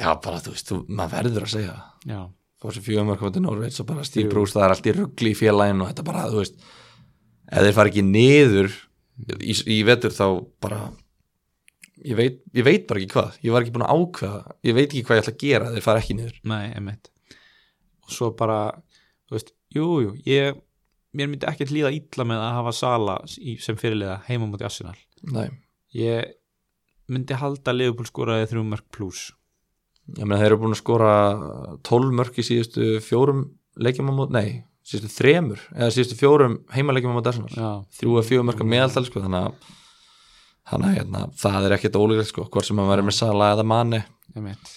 Speaker 2: já bara þú veist þú, maður verður að segja það.
Speaker 1: já,
Speaker 2: fór sem fjögumörk hótti Norveits og bara
Speaker 1: Jú.
Speaker 2: Steve Bruce það er allt í ruggli í félaginu og þetta bara þú veist ef þeir fara ekki niður í, í vetur þá bara ég veit, ég veit bara ekki hvað ég var ekki búin að ákveða, ég veit ekki hvað ég ætla að gera ef þeir fara ekki niður
Speaker 1: nei, emitt og svo bara, þú veist, jú, jú ég, mér myndi ekkert líða illa með að hafa Sala í- sem fyrirliða heima á móti Arsenal
Speaker 2: Nei.
Speaker 1: ég myndi halda að Liverpool skoraði þrjú mörg pluss
Speaker 2: ég meina þeir eru búin að skora 12 mörk í síðustu fjórum leikjum á mót, nei, síðustu þremur eða síðustu fjórum heimaleikjum á mót Arsenal
Speaker 1: já,
Speaker 2: þrjú að fjögur marka meðaltal sko, þannig að þannig að hérna, það er ekkert ólíklegt sko, hvort sem að vera með Sala eða Mane
Speaker 1: emitt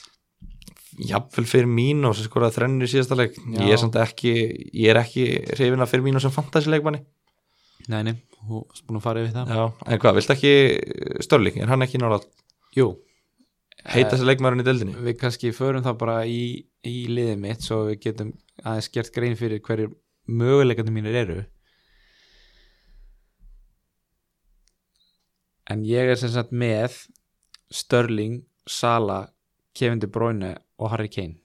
Speaker 2: jafnvel fyrir mínu sem skoraði þrennir í síðasta leik
Speaker 1: Já.
Speaker 2: ég er samt ekki, ég er ekki hrifin að fyrir mínu sem fantasi leikmanni
Speaker 1: nei, nei, þú varst búin að fara yfir það
Speaker 2: Já. en hvað, viltu ekki Störling, er hann ekki nála
Speaker 1: jú,
Speaker 2: heita þessi leikmærin í deildinni?
Speaker 1: við kannski förum það bara í, í liðið mitt svo við getum aðeins gert grein fyrir hverjir möguleikandi mínir eru en ég er sem sagt með Störling, Sala Kevin De Bruyne og Harry Kane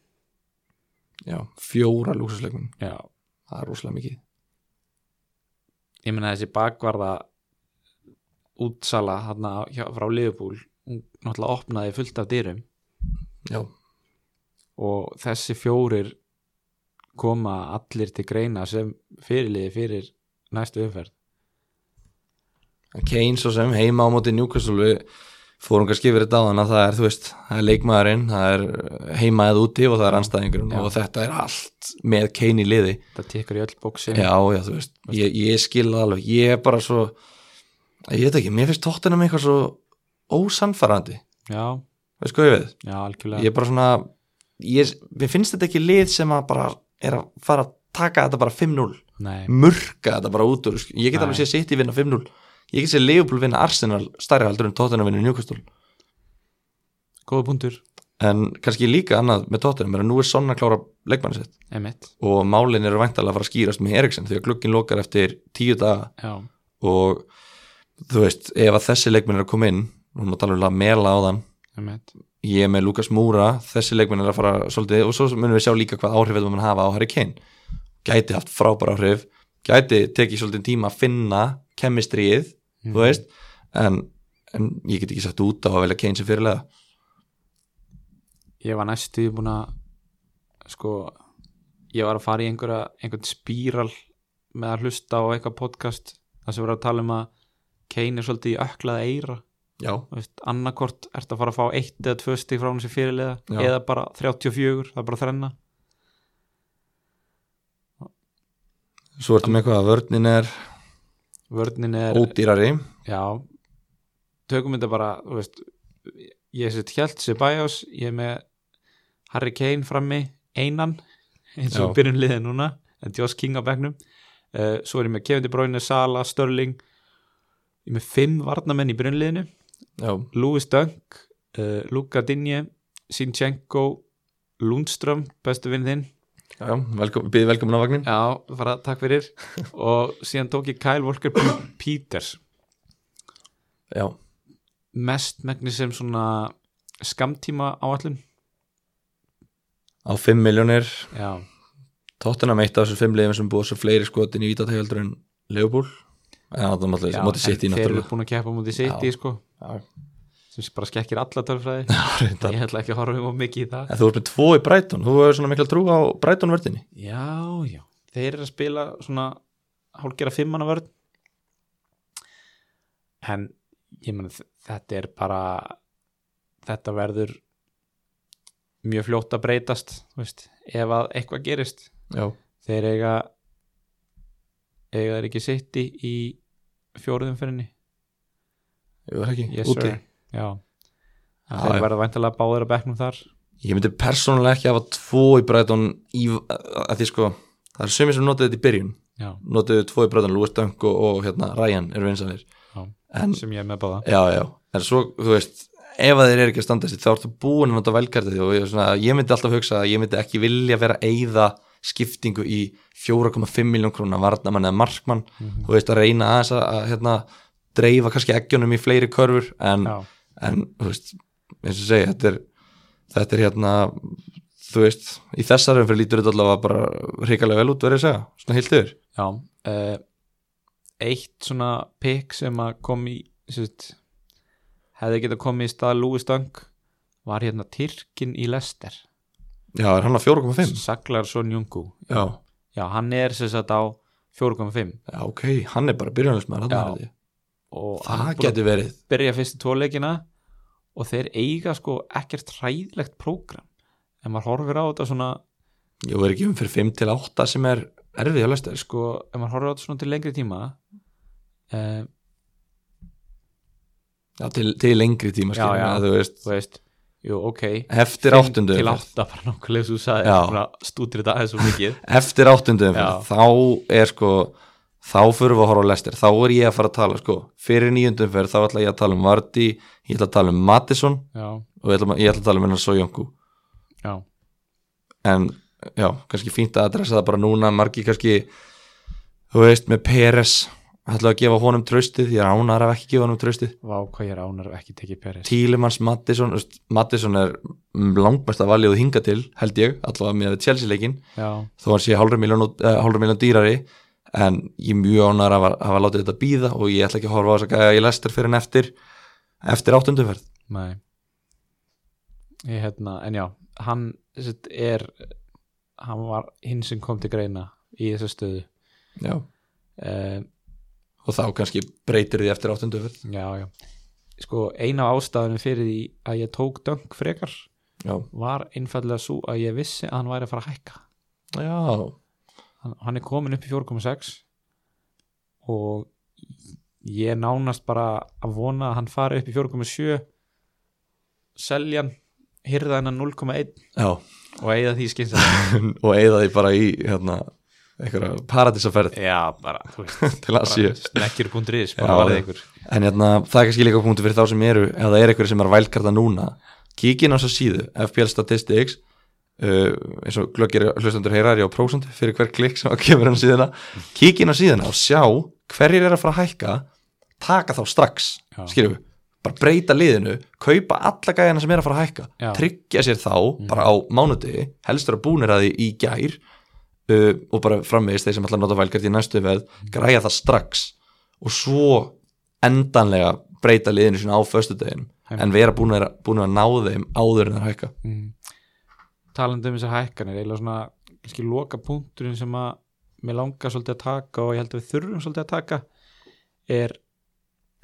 Speaker 2: Já, fjóra lúsusleikmann,
Speaker 1: já,
Speaker 2: það er rosalega mikið
Speaker 1: ég meina þessi bakvarða útsala hana, hjá, frá Liverpool hún náttúrulega opnaði fullt af dyrum
Speaker 2: Já,
Speaker 1: og þessi fjórir koma allir til greina sem fyrirliði fyrir næstu umferð
Speaker 2: En Kane svo sem heima á móti Newcastle við fórum kannski yfir þetta á þannig að það er, þú veist, það er leikmaðurinn það er eh, heima eða úti og það er anstæðingurinn
Speaker 1: Já.
Speaker 2: og þetta er allt með Kane í liði
Speaker 1: það tekur í öll bóksin
Speaker 2: Já, já, þú veist, ég, ég skil það alveg ég er bara svo, ég veit ekki mér finnst tóttina með eitthvað svo ósannfærandi,
Speaker 1: já,
Speaker 2: veist hvað ég við
Speaker 1: já, algjörlega
Speaker 2: ég er bara svona ég, mér finnst þetta ekki lið sem að bara er að fara að taka þetta bara 5-0
Speaker 1: Nei,
Speaker 2: mörka þetta bara út úr, sk- ég get
Speaker 1: Nei.
Speaker 2: alveg séð sitt í vinna 5-0 ég get séð Leopold vinna Arsenal stærri heldur en tóttina vinna Newcastle
Speaker 1: góða punktur,
Speaker 2: en kannski líka annað með tóttina er að nú er svona klára leikmanni sitt
Speaker 1: emitt
Speaker 2: og málin eru væntalega að fara að skýrast með Eriksen því að glukkin lokar eftir 10 daga
Speaker 1: já,
Speaker 2: og þú veist, ef að þessi leikminn er að koma inn og nú talum við að mela á þann
Speaker 1: emitt,
Speaker 2: ég er með Lukas Múra, þessi leikminn er að fara svolítið og svo munum við sjá líka hvað áhrif þetta mun hafa á Harry Kane gæti haft frábæra áhrif, gæti tekið svolítið tíma að finna kemistrið þú veist, en, en ég get ekki sagt út á að velja Kane sem fyrirlega
Speaker 1: ég var næstu búin að sko ég var að fara í einhverja, einhvern spíral með að hlusta á eitthvað podcast þar sem verður að tala um að Kane er svolítið í öklað eira
Speaker 2: já,
Speaker 1: Þú veist, annarkort ertu að fara að fá eitt eða tvö stig frá hún sem fyrirliða
Speaker 2: Já.
Speaker 1: eða bara 34, það er bara þrenna
Speaker 2: svo ertu með eitthvað að vörnin er
Speaker 1: vörnin er,
Speaker 2: ódýrari
Speaker 1: já tökum þetta bara, þú veist ég set hjælt sér bæjás ég er með Harry Kane frammi einan, eins og
Speaker 2: Já.
Speaker 1: við byrjum liðið núna en Josh King á bekknum uh, svo er ég með Kevin De Bruyne, Sala, Störling ég er með fimm varnamenn í byrjunliðinu
Speaker 2: já,
Speaker 1: Louis Dunk, uh, Luka Dinje Sinchenko Lundström, bestu vinn þinn
Speaker 2: já, velkom, býð velkomin á vagnin
Speaker 1: Já, bara takk fyrir og síðan tók ég Kyle Walker P- Peters
Speaker 2: já,
Speaker 1: mest megnis sem svona skamtíma áallun
Speaker 2: á 5 miljónir
Speaker 1: Já,
Speaker 2: Tottenham eitt af þessum fimm liðum sem búið svo fleiri skotin í vítategjöldur en Leopold en það er náttúrulega mótið sitt í
Speaker 1: en þeir eru
Speaker 2: náttúrulega
Speaker 1: búin að keppa mútið sitt í
Speaker 2: Já.
Speaker 1: sko
Speaker 2: Já,
Speaker 1: sem bara skekkir alla tölfræði
Speaker 2: reyndar.
Speaker 1: ég ætla ekki að horfa um of mikið í það
Speaker 2: en þú ert með tvo í Brighton, þú hefur svona mikla trú á Brighton vördinni
Speaker 1: Já, já, þeir eru að spila svona hálfgera fimmana vörn en ég meina þ- þetta er bara þetta verður mjög fljótt að breytast þú veist, ef að eitthvað gerist
Speaker 2: já,
Speaker 1: þeir eiga eiga þeir ekki sitt í, í fjóruðum fyrirni
Speaker 2: ég verð ekki,
Speaker 1: yes,
Speaker 2: úti
Speaker 1: sir. Já,
Speaker 2: Já,
Speaker 1: þeir
Speaker 2: já.
Speaker 1: verða væntalega báður að bekknum þar
Speaker 2: ég myndi persónulega ekki hafa tvo í Brighton í, að því sko það er sumir sem notaði þetta í byrjun
Speaker 1: já,
Speaker 2: notaði tvo í Brighton, Lewis Dunk og, og hérna Ryan eru vinsanir
Speaker 1: Já.
Speaker 2: en,
Speaker 1: sem ég er með báða
Speaker 2: já, já, en svo, þú veist ef að þeir eru ekki að standa sér þá ertu búin að nota velkartið og ég, er svona, ég myndi alltaf hugsa að ég myndi ekki vilja vera að eyða skiptingu í 4,5 miljón krónar varnamann eða markmann
Speaker 1: Eh, Mhm.
Speaker 2: þú veist að reyna aðeins að, að hérna, dreifa kannski eggjunum í fleiri körfur en,
Speaker 1: Já.
Speaker 2: en þú veist, eins og ég segi þetta er, þetta er hérna þú veist, í þessar umfyrir lítur þetta allavega bara hrikalega vel út verið að segja, svona heilt yfir
Speaker 1: Já, uh, eitt svona pick sem að kom í sérst, hefði getað komið í stað Lúi Stöng var hérna Tyrkin í Lester
Speaker 2: Já, er hann að 4,5?
Speaker 1: Saglarsson Jungu
Speaker 2: Já,
Speaker 1: Já, hann er sem sagt á 4.5
Speaker 2: já, ok, hann er bara byrjunarsmaður
Speaker 1: Já.
Speaker 2: hann er þetta.
Speaker 1: og
Speaker 2: Það
Speaker 1: hann búinn að
Speaker 2: getur verið
Speaker 1: byrja fyrstu tvoleikina og þeir eiga sko ekkert hræðilegt prógram en maður horfir á þetta svona
Speaker 2: Jú, er ekki um fyrir 5 til 8 sem er erfið að lösta
Speaker 1: sko, en maður horfir á þetta svona til lengri tíma eh,
Speaker 2: Já, til, til lengri tíma
Speaker 1: Já,
Speaker 2: skilur
Speaker 1: já.
Speaker 2: við, þú veist,
Speaker 1: þú veist, jú ok
Speaker 2: Eftir
Speaker 1: fimm
Speaker 2: áttundu
Speaker 1: til
Speaker 2: umferð.
Speaker 1: átta bara nokkuð leið svo sagði
Speaker 2: Já.
Speaker 1: svona stútir þetta aðeins svo mikið
Speaker 2: Eftir áttundum
Speaker 1: Já.
Speaker 2: Þá er sko Þá fyrir við að horfa á lestir Þá er ég að fara að tala sko Fyrir nýjundum fyrir þá ætla ég að tala um Vardí Ég ætla að tala um Mattisson
Speaker 1: já,
Speaker 2: Og ég ætla, ég ætla að tala um hennar Sojongu
Speaker 1: já,
Speaker 2: En já, kannski fínt að adressa það bara núna Margi kannski Þú veist, með Peres ætla að gefa honum traustið Ég ránar af ekki gefa honum traustið
Speaker 1: vá hvað ég er ránar ekki tekið Peris
Speaker 2: Tílimans Mattisson Mattisson er langbæsta valjóð hinga til held ég, allavega með Chelsea-leikin
Speaker 1: já,
Speaker 2: þó hann sé hálfur miljón, uh, hálfur miljón dýrari en ég er mjög ánægður að hafa, hafa látið þetta býða og ég ætla ekki að horfa á þess að gæja ég lestir fyrir en eftir eftir áttundumferð
Speaker 1: nei ég hérna, en já hann sitt, er hann var hinn sem kom til greina í þessa stöðu
Speaker 2: já.
Speaker 1: eh,
Speaker 2: og þá kannski breytir því eftir áttundumferð
Speaker 1: já, já sko, eina af ástæðunum fyrir því að ég tók döng frekar
Speaker 2: já,
Speaker 1: var einfallega svo að ég vissi að hann væri að fara að hækka
Speaker 2: já,
Speaker 1: hann, hann er komin upp í 4,6 og ég er nánast bara að vona að hann fari upp í 4,7 selja hann hirða hennan 0,1
Speaker 2: já.
Speaker 1: og eigða því skynsalega
Speaker 2: og eigða því bara í hérna, einhverja paradísaferð
Speaker 1: já, bara, þú veist
Speaker 2: til að
Speaker 1: bara snekkir.is, bara
Speaker 2: Já,
Speaker 1: varðið
Speaker 2: já.
Speaker 1: ykkur
Speaker 2: En hérna, það er kannski líka punktu fyrir þá sem eru ef það er einhverju sem er vælkarta núna kíkin á þess að síðu, FPL Statistics uh, eins og glöggir hlustendur heyrar ég á prósendu fyrir hver klikk sem að kemur hann síðuna, kíkin á síðuna og sjá hverjir er að fara að hækka taka þá strax,
Speaker 1: Já.
Speaker 2: skiljum við bara breyta liðinu, kaupa alla gæjana sem er að fara að hækka,
Speaker 1: Já.
Speaker 2: tryggja sér þá bara á mánudegi, helst vera búnir að því í gær uh, og bara framvegis þeir sem ætla að nota vælgart í næstu veð græja það strax og svo endanlega breyta liðinu sinna á föstudeginum
Speaker 1: Einmitt.
Speaker 2: en vera búin að, búin að ná þeim áður en það hækka
Speaker 1: mm. talandi um þessar hækkanir eiginlega svona kannski loka punkturinn sem að mér langar svolítið að taka og ég held að við þurfum svolítið að taka er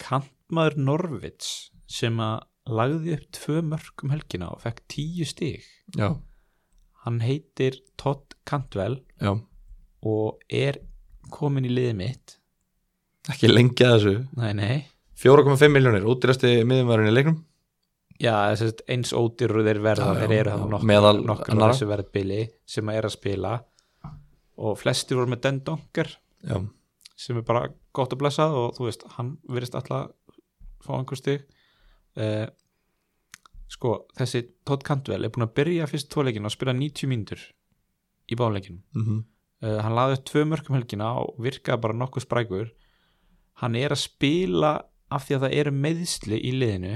Speaker 1: kantmaður Norvits sem að lagði upp tvö mörg um helgina og fekk tíu stig
Speaker 2: já,
Speaker 1: hann heitir Todd Cantwell
Speaker 2: já,
Speaker 1: og er komin í liðið mitt
Speaker 2: ekki lengja þessu
Speaker 1: nei nei
Speaker 2: 4,5 miljónir, útýrasti miðumverðin í leiknum
Speaker 1: Já, þess að eins ódýrur þeir verða,
Speaker 2: Já, já,
Speaker 1: þeir eru
Speaker 2: já.
Speaker 1: það
Speaker 2: Meðal
Speaker 1: nokkur, nokkur á
Speaker 2: annarra.
Speaker 1: þessu verðbili sem að er að spila og flestir voru með Den Donker
Speaker 2: já,
Speaker 1: sem er bara gott að blessa og þú veist, hann virðist alltaf fá einhver stig eh, sko, þessi Todd Cantwell er búin að byrja fyrst tvoleikinu og spila 90 mínútur í báleikinu
Speaker 2: mm
Speaker 1: eh, hann laði upp tvö mörgum helgina og virkaði bara nokkuð sprækur hann er að spila af því að það eru meðsli í liðinu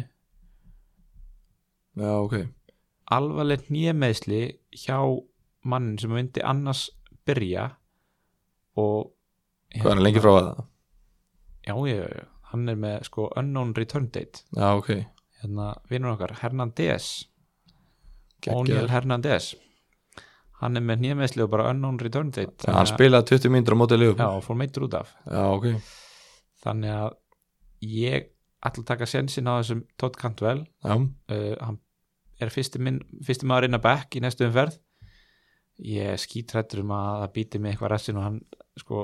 Speaker 2: já ok
Speaker 1: alvarlegt nýjameðsli hjá mannin sem myndi annars byrja og
Speaker 2: hvað er hann lengi frá að það?
Speaker 1: já, já, já, hann er með sko unknown return date
Speaker 2: já, ok,
Speaker 1: hérna vinnur okkar Hernández Óníel
Speaker 2: geggjað
Speaker 1: Hernández hann er með nýjameðsli og bara unknown return date
Speaker 2: Já, hann spilaði 20 mínútur á mótið
Speaker 1: já,
Speaker 2: liðum
Speaker 1: og fór meittur út af
Speaker 2: já, ok,
Speaker 1: þannig að ég ætla að taka sensin á þessum Todd Cantwell
Speaker 2: já,
Speaker 1: uh, hann er fyrsti, minn, fyrsti maður inn að bekk í næstu umferð ég skítrættur um að það býti mig eitthvað restin og hann sko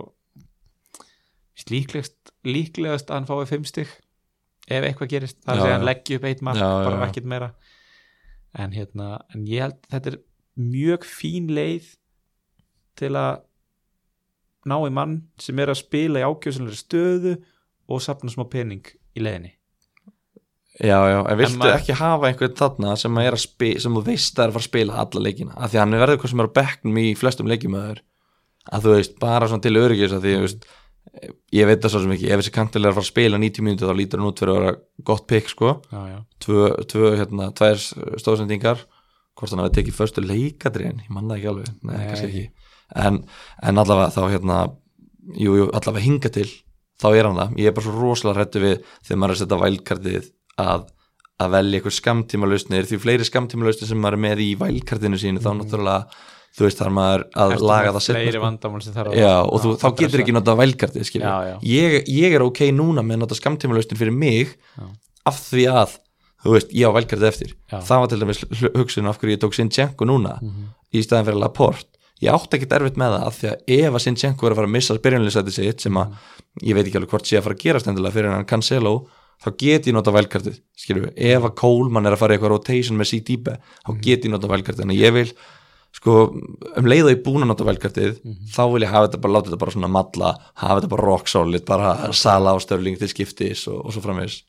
Speaker 1: líklegast, líklegast að hann fái fimm stig ef eitthvað gerist það er
Speaker 2: Já,
Speaker 1: að segja hann
Speaker 2: já.
Speaker 1: leggji upp eitt mark
Speaker 2: Já, já,
Speaker 1: bara
Speaker 2: já.
Speaker 1: ekkert meira en hérna, en ég held þetta er mjög fín leið til að ná í mann sem er að spila í ákjöfsynlega stöðu og sapna smá pening í leiðinni
Speaker 2: já, já, en viltu
Speaker 1: maður-
Speaker 2: ekki hafa einhvern þarna sem, að er að spi, sem þú veist að er að fara að spila alla leikina, af því að hann verður hvað sem er á bekknum í flestum leikjum að að þú veist, bara svona til öryggis að því, þú veist, ég veit það svo sem ekki ef þessi kantil er að fara að spila 90 mínúti þá lítur hann út fyrir að vera gott pick sko
Speaker 1: já, já,
Speaker 2: tvö, tvö hérna, tvær stóðsendingar hvort hann hafi tekið förstu leikadriðin ég manna ekki alveg, nei,
Speaker 1: Nei.
Speaker 2: kannski ekki en, en allavega þá hérna jú, jú, allavega hinga til þá er hann það, ég er bara svo rosalega hrættu við þegar maður er að setja vælkartið að, að velja eitthvað skamtímalausnir því fleiri skamtímalausnir sem maður er með í vælkartinu sínu þá náttúrulega, þú veist þar maður að
Speaker 1: Mm. Ertu
Speaker 2: laga
Speaker 1: með
Speaker 2: það seinna,
Speaker 1: fleiri
Speaker 2: sko.
Speaker 1: vandamál sem þarf að-
Speaker 2: Já, og þú, þá
Speaker 1: það
Speaker 2: getur
Speaker 1: pressa.
Speaker 2: ekki notað vælkartið,
Speaker 1: Já, já.
Speaker 2: skiljum ég, ég er ok núna með að nota skamtímalaustin fyrir mig
Speaker 1: Já.
Speaker 2: af því að, þú veist, ég á vælkartið eftir
Speaker 1: Já.
Speaker 2: það var til dæmis hl- hugsun af hverju ég tók Sinchenko núna í staðan fyrir Laporte ég átti ekkert erfitt með það af því að ef að Sinchenko er að fara að missa byrjunlýsæti sitt sem að ég veit ekki alveg hvort sé að fara að gerast endilega fyrir hann Cancelo þá get ég nota vælkartið, skiljum ef að Coleman er að fara í eitthvað rotation með síð dýpe E, þá get ég nota vælkartið, en ég vil sko, um leiða ég er búinn að nota velkartið, þá vil ég hafa þetta bara láta þetta bara svona matla, hafa þetta bara rock solid, bara sala á störling til skiptis og, og svo framvegis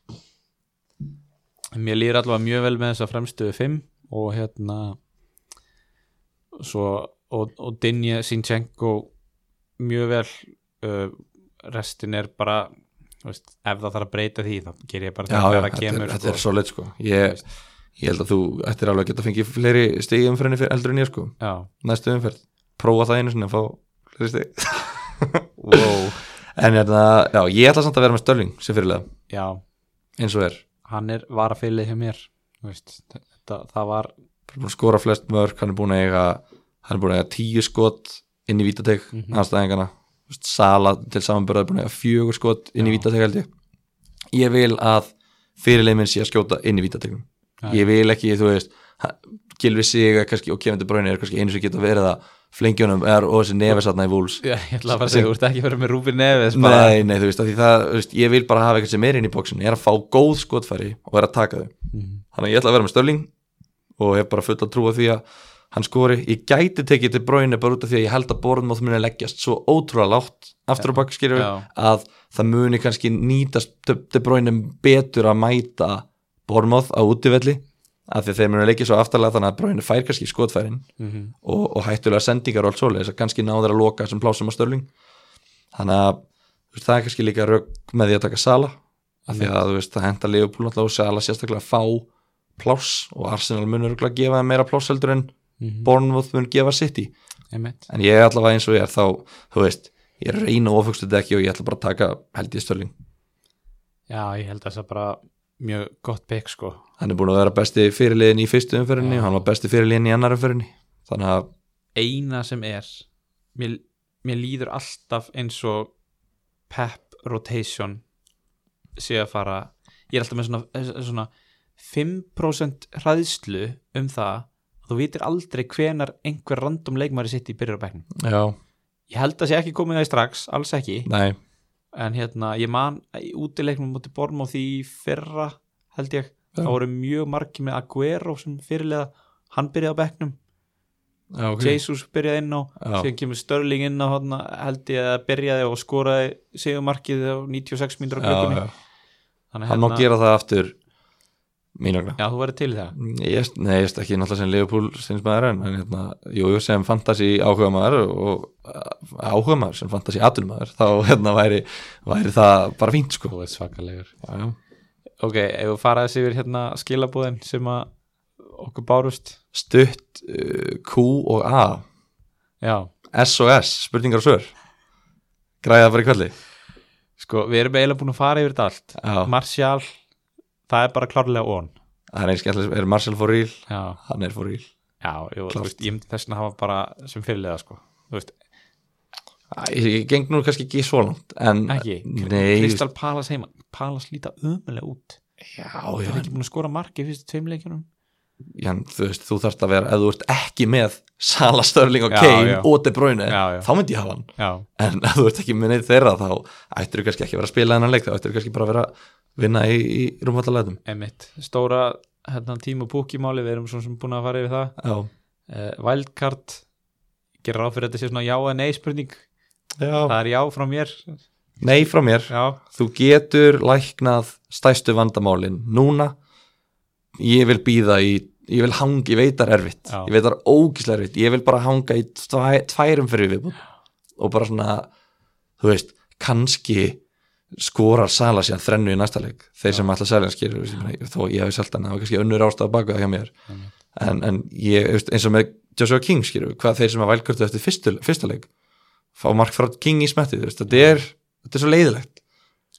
Speaker 1: mér líður allavega mjög vel með þessa fremstu fimm og hérna svo og, og Dinje Sinchenko mjög vel uh, restin er bara þú veist, ef það þarf að breyta því þá ger ég bara
Speaker 2: Já,
Speaker 1: þegar
Speaker 2: já,
Speaker 1: það
Speaker 2: þetta,
Speaker 1: kemur
Speaker 2: er, þetta
Speaker 1: sko.
Speaker 2: er solid sko ég, ég held að þú ættir alveg að geta fengið fleiri stig í umferðinni fyrir eldur en ég sko
Speaker 1: já,
Speaker 2: næstu umferð, prófa það einu sinni að fá fleiri stig
Speaker 1: wow.
Speaker 2: en hérna, já, ég ætla samt að vera með störling sem fyrirlega,
Speaker 1: já,
Speaker 2: eins og er
Speaker 1: hann er varafilið hjá mér þú veist, þetta, það var
Speaker 2: Hann er búin að skora flest mörk, hann er búin að eiga hann er búin að eiga tíu skot inn í vítateg mm
Speaker 1: Mhm.
Speaker 2: -hmm. anstæðingana Þú veist, Sala til samanbörða er búin að eiga fjögur skot inn í
Speaker 1: Já.
Speaker 2: vítateg held ég ég vil að fyrirleið minn sé að skjóta inn í vítategnum
Speaker 1: Já.
Speaker 2: ég vil ekki, þú veist ha- Gylfi Siga kannski og Kevin De Bruyne er kannski einu sem geta verið að flengjónum er og þessi nefesatna í vúls
Speaker 1: Já, ég ætla að fara að segja, þú ert ekki verið með Rúbin Neves bara,
Speaker 2: Nei, nei, þú veist, af því það, þú veist, ég vil bara hafa eitthvað sem er inn í bóksinu, ég er að fá góð skotfæri og er að taka þau
Speaker 1: Mhm.
Speaker 2: þannig að ég ætla að vera með Störling og hef bara full að trúa því að hann skori ég gæti tekið til bróinu bara út af því að ég held að Bornmoth muni leggjast svo ótrúlega lágt aftur á bakskýrjum
Speaker 1: Já.
Speaker 2: að það muni kannski nýtast til bróinu betur að mæta Bornmoth á útivelli af því að þeir muni leggja svo aftarlega þannig að bróinu fær kannski skotfærin
Speaker 1: Mhm.
Speaker 2: og, og hættulega sendingar og allt svoleiðis að kannski náður að loka þessum plásum á Störling þannig að þú veist, það er kannski líka rauk með því að taka Sala af því að þú veist, það henda Leopold alltaf og Sala sérstaklega að fá pláss og Arsenal mun örgulega að gefa þeim meira pláss heldur en
Speaker 1: Mhm.
Speaker 2: Bournemouth mun gefa City
Speaker 1: einmitt
Speaker 2: en ég er allavega eins og ég er þá, þú veist ég reyna ofugstu þetta ekki og ég ætla bara að taka held ég Störling,
Speaker 1: já, ég held að það er bara mjög gott pick sko
Speaker 2: hann er búin að vera besti fyrirliðin í fyrstu umferðinni
Speaker 1: Já.
Speaker 2: og hann var besti fyrirliðin í annar umferðinni þannig að,
Speaker 1: eina sem er mér, mér líður alltaf eins og pep rotation sé að fara ég er alltaf með svona, eh, svona 5% hræðslu um það að þú vitir aldrei hvenar einhver random leikmæri sitt í byrjar á bekknum
Speaker 2: já,
Speaker 1: ég held að sé ekki komið það í strax, alls ekki
Speaker 2: nei
Speaker 1: en hérna, ég man í útileiknum mútið Bormóð í fyrra held ég,
Speaker 2: Já.
Speaker 1: það voru mjög margi með Aguero sem fyrirlega hann byrjaði á bekknum
Speaker 2: já,
Speaker 1: Jesus byrjaði inn á
Speaker 2: Já.
Speaker 1: síðan kemur Störling inn á hana, held ég að byrjaði og skoraði sigumarkið á 96 mínútur á
Speaker 2: já,
Speaker 1: klukkunni
Speaker 2: já.
Speaker 1: þannig
Speaker 2: hann má
Speaker 1: hérna-
Speaker 2: gera það aftur mínugna
Speaker 1: já þú verður til í það
Speaker 2: Ég, nei, ég veist ekki náttúrulega sem Leopold sinns maður en, en hérna, jú, jú, sem fantasi áhuga maður og áhuga maður sem fantasi atunum maður, þá hérna væri, væri það bara fínt sko.
Speaker 1: þú veist svakalegur
Speaker 2: Já, já.
Speaker 1: ok, ef við faraði sig yfir hérna skilabúðin sem að okkur bárust
Speaker 2: Stutt uh, Q og A,
Speaker 1: já,
Speaker 2: S og S, spurningar og svör. Græða bara í kvöldi.
Speaker 1: sko við erum eiginlega búin að fara yfir þetta allt
Speaker 2: Já,
Speaker 1: Martial, það er bara klárlega on
Speaker 2: það er eins skemmtilega, er Marcel for real?
Speaker 1: já,
Speaker 2: Hann er for real.
Speaker 1: já, jú,
Speaker 2: Klárt.
Speaker 1: þú veist, ég myndi þess að hafa bara sem fyrirlega sko, þú veist,
Speaker 2: Æ, Ég, ég geng nú kannski ekki svo langt, en...
Speaker 1: ekki
Speaker 2: Nei, ég veist-
Speaker 1: Kristal Palas heima, Palas líta ömulega út
Speaker 2: já,
Speaker 1: það
Speaker 2: já,
Speaker 1: er ekki búin að skora markið fyrstu tveim leikjunum
Speaker 2: já, en þú veist, þú þarft að vera, ef þú ert ekki með Sala, Störling og
Speaker 1: Já,
Speaker 2: Kane
Speaker 1: já.
Speaker 2: og De Bruyne,
Speaker 1: Já, já.
Speaker 2: Eh, þá myndi ég hafa hann.
Speaker 1: já,
Speaker 2: en ef þú ert ekki með neitt þeirra þá ættir þú kannski ekki að vera að spila þennan leik þá ættir þú kannski bara að vera að vinna í, í rúmvallalætum
Speaker 1: emitt, stóra hérna, tíma og búkimáli, við erum svona sem búin að fara yfir það
Speaker 2: já,
Speaker 1: uh, Wildcard gerir ráð fyrir að þetta sé svona já eða nei spurning
Speaker 2: já,
Speaker 1: það er já frá mér
Speaker 2: Nei frá mér,
Speaker 1: Já,
Speaker 2: þú getur læknað stæstu vandamálin núna ég vil býða í ég vil hanga, ég veit það er erfitt
Speaker 1: Já.
Speaker 2: ég veit það er ógislega erfitt, ég vil bara hanga í tvæ, tværum fyrir viðbúð og bara svona, þú veist kannski skorar sala síðan þrennu í næsta leik, þeir sem alltaf selja hann skilur, þú veist, ég meina, þó ég hef selta hann það var kannski önnur ástæða baku það hjá mér en, en ég, þú veist, eins og með Joshua King skilur, hvað þeir sem að vælkvörtu eftir fyrstu, fyrsta leik, fá mark frá King í smettið, þú veist, þetta er, þetta er svo leiðilegt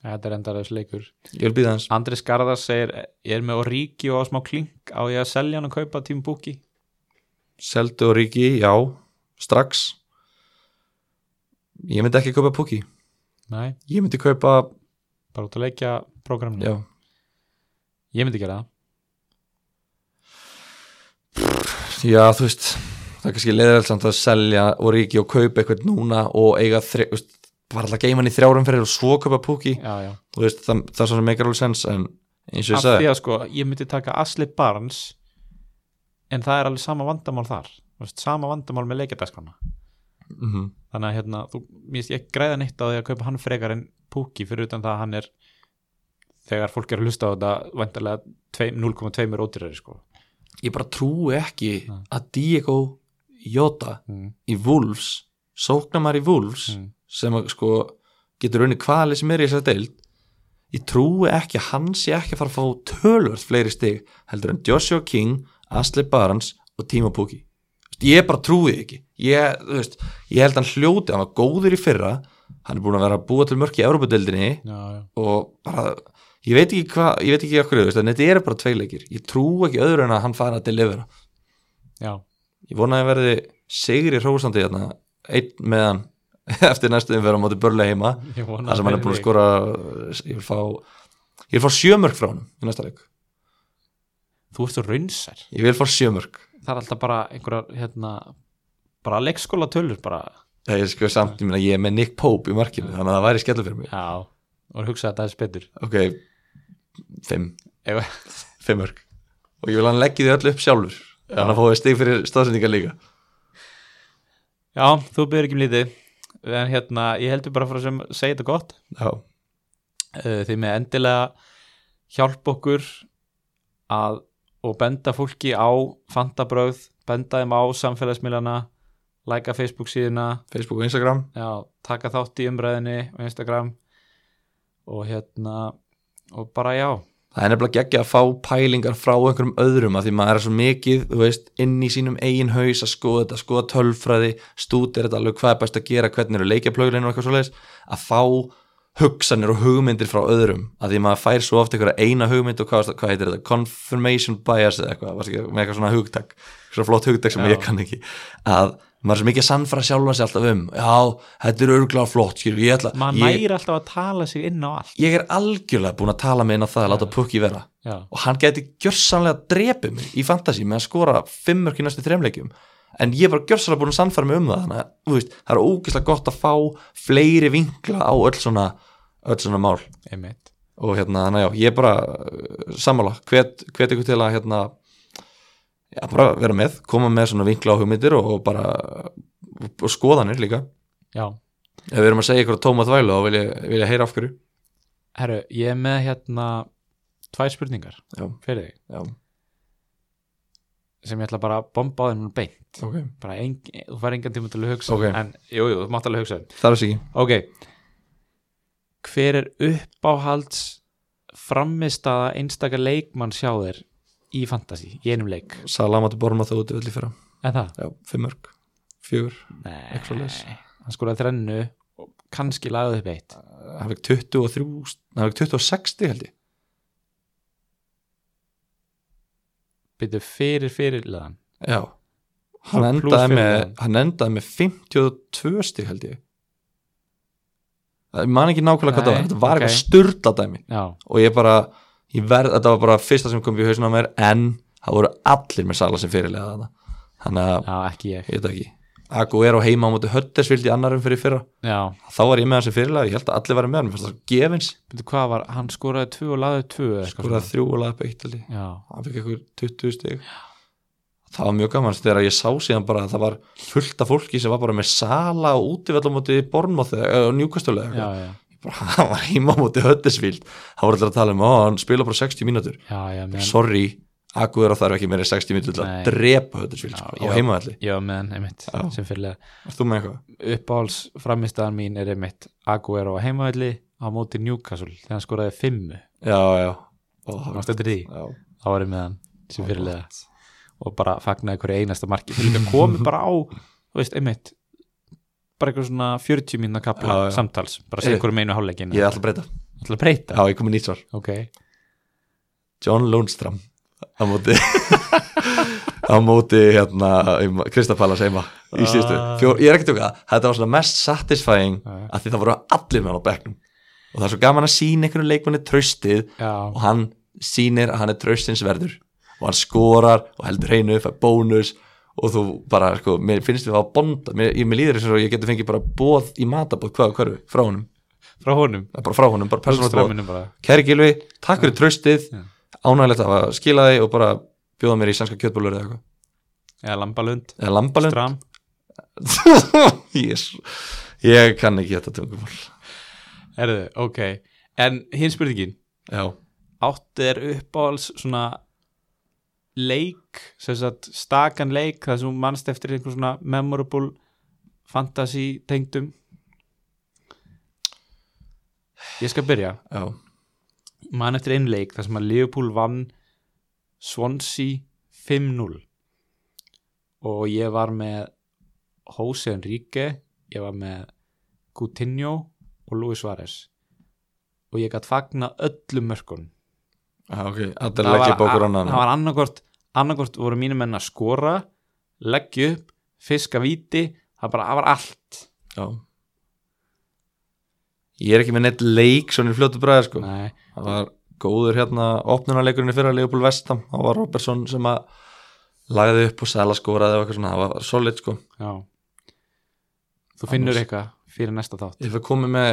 Speaker 1: þetta er endarlegs leikur
Speaker 2: ég vil býða hans
Speaker 1: Andris Garðars segir, ég er með Origi og á smá klink á ég að selja hann og kaupa tím búki
Speaker 2: Seldu og Ríki, já, strax Ég myndi ekki kaupa Pukki
Speaker 1: Nei,
Speaker 2: Ég myndi kaupa,
Speaker 1: bara út að leikja prógraminu
Speaker 2: já,
Speaker 1: Ég myndi gera það
Speaker 2: já þú veist Það er kannski leiðilegt samt að selja og Ríki og kaupa eitthvað núna og eiga þri, þú veist, bara alltaf geima hann í þrjárum fyrir og svo kaupa Pukki
Speaker 1: Já, já
Speaker 2: Þú veist, það, það er svona meikar alveg sens en eins og ég
Speaker 1: Af því
Speaker 2: sagði,
Speaker 1: að sko, ég myndi taka Asli Barnes en það er alveg sama vandamál þar Þú veist, sama vandamál með leikjadagskona
Speaker 2: mm
Speaker 1: þannig að hérna, þú, mér finnst ég græða neitt á því að kaupa hann frekar en Pukki fyrir utan það að hann er þegar fólk er að hlusta á þetta vantarlega 0,2 ódýrari sko
Speaker 2: ég bara trúi ekki
Speaker 1: Nei.
Speaker 2: að Diego Jota
Speaker 1: mm.
Speaker 2: í Wolves sóknar maður í Wolves
Speaker 1: Mm.
Speaker 2: sem að, sko getur unni hvaðalið sem er í þessari deild ég trúi ekki að hann sé ekki að fara að fá tölvörð fleiri stig heldur en Joshua King, Asli Barnes og Timo Pukki ég bara trúi því ekki ég, þú veist, ég held hann hljóti, hann var góður í fyrra hann er búin að vera að búa til mörk í Európa-deildinni
Speaker 1: Já, já
Speaker 2: og bara ég veit ekki hvað, ég veit ekki okkur veist, en þetta eru bara tveileikir, ég trúi ekki öðru en að hann fara að delivera
Speaker 1: Já,
Speaker 2: ég vona að ég verði sigri hrósandi hérna, einn meðan eftir næstuðum verða á móti börlega heima
Speaker 1: ég vona
Speaker 2: þar sem hann er búin að skora ég vil fá, ég vil fá sjömörk frá hann í næsta leik,
Speaker 1: Þú ert svo raunsær
Speaker 2: ég vil fá sjömörk
Speaker 1: Það er alltaf bara einhverjar, hérna bara leikskóla tölur bara
Speaker 2: það er sko samt, ég meina ég er með Nick Pope í markinu þannig að það væri skellu fyrir mig
Speaker 1: Já, og hugsa að það er spettur
Speaker 2: ok, fimm,
Speaker 1: Ef-
Speaker 2: fimmörk og ég vil að hann leggja því öll upp sjálfur þannig að fáið stig fyrir staðsendingar líka
Speaker 1: Já, þú byrður ekki um lítið en hérna, ég heldur bara frá sem segja þetta gott
Speaker 2: já,
Speaker 1: uh, því með endilega hjálp okkur að og benda fólki á fantabröð, benda þeim á samfélagsmiðlana, læka Facebook síðuna
Speaker 2: Facebook og Instagram
Speaker 1: já, taka þátt í umræðinni og Instagram og hérna og bara já,
Speaker 2: það er nefnilega geggja að fá pælingar frá einhverjum öðrum að því maður er svo mikið þú veist, inn í sínum eigin haus að skoða þetta, skoða tölfræði, stútir þetta alveg hvað er best að gera, hvernig eru leikjaplöglin og eitthvað svoleiðis, að fá hugsanir og hugmyndir frá öðrum að því maður fær svo oft einhverja eina hugmynd og hvað, hvað heitir þetta, confirmation bias eða eitthvað, varstu ekki, með eitthvað svona hugtak svo flott hugtak sem
Speaker 1: Já.
Speaker 2: ég kann ekki að maður er svo mikið að sannfara sjálfa sig alltaf um já, þetta er örglega flott skilur, ég, ætla,
Speaker 1: maður
Speaker 2: ég,
Speaker 1: næri alltaf að tala sig inn á allt
Speaker 2: ég er algjörlega búin að tala með inn á það að láta pukki vera
Speaker 1: já,
Speaker 2: og hann gæti gjörsanlega drepið mig í fantasy með að skora fimm mörk í næstu þremleikjum en ég er bara gjörsanlega búin að sannfæra mig um það þannig að þú veist, það er ógeðslega gott að fá fleiri vinkla á öll svona öll svona mál
Speaker 1: einmitt
Speaker 2: og hérna, þannig að já, ég er bara uh, sammála, hvet, hvet ykkur til að hérna, já, bara vera með koma með svona vinkla á hugmyndir og, og bara uh, og skoðanir líka
Speaker 1: já,
Speaker 2: ef við erum að segja ykkur tóma þvælu og vilja, vilja heyra af hverju
Speaker 1: herru, ég er með hérna tvær spurningar
Speaker 2: já,
Speaker 1: fyrir þig
Speaker 2: já,
Speaker 1: sem ég ætla bara að bomba á þeim beint
Speaker 2: ok,
Speaker 1: bara engin, þú fær engan tíma til að hugsa
Speaker 2: Ok.
Speaker 1: en jú, jú, þú mátt alveg hugsa
Speaker 2: það er þess ekki
Speaker 1: ok hver er uppáhalds frammistaða einstaka leikmann sjá þér í fantasy, í einum leik
Speaker 2: Salamati Borma þó út í fyrra
Speaker 1: en það?
Speaker 2: já, fimm mörg, fjögur Eitthvað svoleiðis.
Speaker 1: Nei, hann skoraði þrennu og kannski lagði upp eitt
Speaker 2: hann fekk 23 nei, hann fekk 26 stig held ég
Speaker 1: byrju fyrir fyrirleðan
Speaker 2: já hann
Speaker 1: Plus
Speaker 2: endaði,
Speaker 1: fyrir
Speaker 2: með,
Speaker 1: hann.
Speaker 2: hann endaði með 52 stig held ég ég man ekki nákvæmlega hvað það
Speaker 1: Nei,
Speaker 2: var þetta var
Speaker 1: ok.
Speaker 2: eitthvað styrla dæmi
Speaker 1: já,
Speaker 2: og ég bara, ég verð, þetta var bara fyrsta sem kom í hausinu á mér en það voru allir með sala sem fyrirlega þarna þannig að,
Speaker 1: já, ekki ég
Speaker 2: ég veit það ekki Agu er á heima á móti Höttersvild í annarum fyrir í fyrra
Speaker 1: já,
Speaker 2: þá var ég með hann sem fyrirlega, ég held að allir var með hann mér fannst það gefins,
Speaker 1: byrju hvað var, hann skoraði tvö og lagði upp tvö eða eitthvað
Speaker 2: skorað þrjú og lapp eitt held ég
Speaker 1: svona. já,
Speaker 2: hann fekk eitthvað 20 stig það var mjög gaman þegar ég sá síðan bara að það var fullt af fólki sem var bara með sala og útivell á móti bornmáð og
Speaker 1: já,
Speaker 2: njúkastulega
Speaker 1: já,
Speaker 2: ég bara, hann var heima á móti höttisvíld hann voru allir að tala um, ó, hann spila bara 60 mínútur
Speaker 1: já, já, meðan
Speaker 2: sorry, Aguero þarf ekki meira en 60 mínútur til
Speaker 1: Nei.
Speaker 2: að drepa höttisvíld
Speaker 1: Já,
Speaker 2: sko,
Speaker 1: já.
Speaker 2: á heimavalli,
Speaker 1: já, meðan, einmitt,
Speaker 2: Já.
Speaker 1: sem fyrir
Speaker 2: er þú með eitthvað?
Speaker 1: uppáhalds framistæðan mín er einmitt Aguero á heimavalli á móti Newcastle þegar hann skoraði fimmu
Speaker 2: já, já, ó, það
Speaker 1: Manstu eftir því?
Speaker 2: já,
Speaker 1: þá var ég með hann sem
Speaker 2: það var
Speaker 1: fyrirlega
Speaker 2: gott.
Speaker 1: og bara fagnaði hverju einasta marki fyrir líka komið bara á, þú veist, einmitt bara eitthvað svona 40 mínna kapla
Speaker 2: Já, já.
Speaker 1: samtals, bara um segja
Speaker 2: Heyrðu,
Speaker 1: hverju meinu hálfleikin
Speaker 2: ég ætla að breyta,
Speaker 1: ætla að breyta,
Speaker 2: já, ég kom með nýtt svar
Speaker 1: ok
Speaker 2: John Lundström á móti á móti hérna Kristapalas heima í síðustu
Speaker 1: Ah.
Speaker 2: Fjó, ég er ekki tjóka, þetta var svona mest satisfying
Speaker 1: Já.
Speaker 2: að því það voru allir með hann á bekknum og það er svo gaman að sína einhvern leikmanni traustið
Speaker 1: Já,
Speaker 2: og hann sýnir að hann er traustins verður og hann skorar og heldur hreinu fær bónus og þú bara sko, mér finnst við að bonda, mér, ég, mér líður eins og ég geti fengið bara bóð í matabóð hvað og hverju, frá honum,
Speaker 1: frá honum
Speaker 2: Það er bara frá honum bara personalt bóð,
Speaker 1: Strömminu bara
Speaker 2: Kæri Gilvi, takk fyrir tröstið
Speaker 1: Já.
Speaker 2: ánægilegt að hafa skila þig og bara bjóða mér í sænska kjötbólur eða eitthvað
Speaker 1: Eða lambalund,
Speaker 2: eða lambalönd
Speaker 1: stram
Speaker 2: yes. ég kann ekki þetta tungumál
Speaker 1: Erðu, ok En hinn spurningin
Speaker 2: já,
Speaker 1: Áttu er uppáhalds svona leik sem sagt stakan leik það sem þú manst eftir einhver svona memorable fantasy tengdum Ég skal byrja
Speaker 2: já,
Speaker 1: Man eftir einn leik þar sem að Liverpool vann Swansea 5-0 og ég var með Jose Enrique ég var með Coutinho og Luis Suárez og ég gætt fagna öllum mörkun
Speaker 2: já ok, allir leggja bókur annan
Speaker 1: það var annarkvort annarkvort voru mínum menn að skora leggja upp, fiska víti það bara, það var allt
Speaker 2: já. ég er ekki með neitt leik svona í fljótu bræði sko.
Speaker 1: Nei,
Speaker 2: það var góður hérna opnunarleikurinn í fyrra Leopold Vestam, það var Robertson sem að lagði upp og sæla skoraði og eitthvað svona, það var solid sko
Speaker 1: já Þú finnur
Speaker 2: Annars-
Speaker 1: eitthvað fyrir næsta þátt
Speaker 2: Ég fyrir komið með,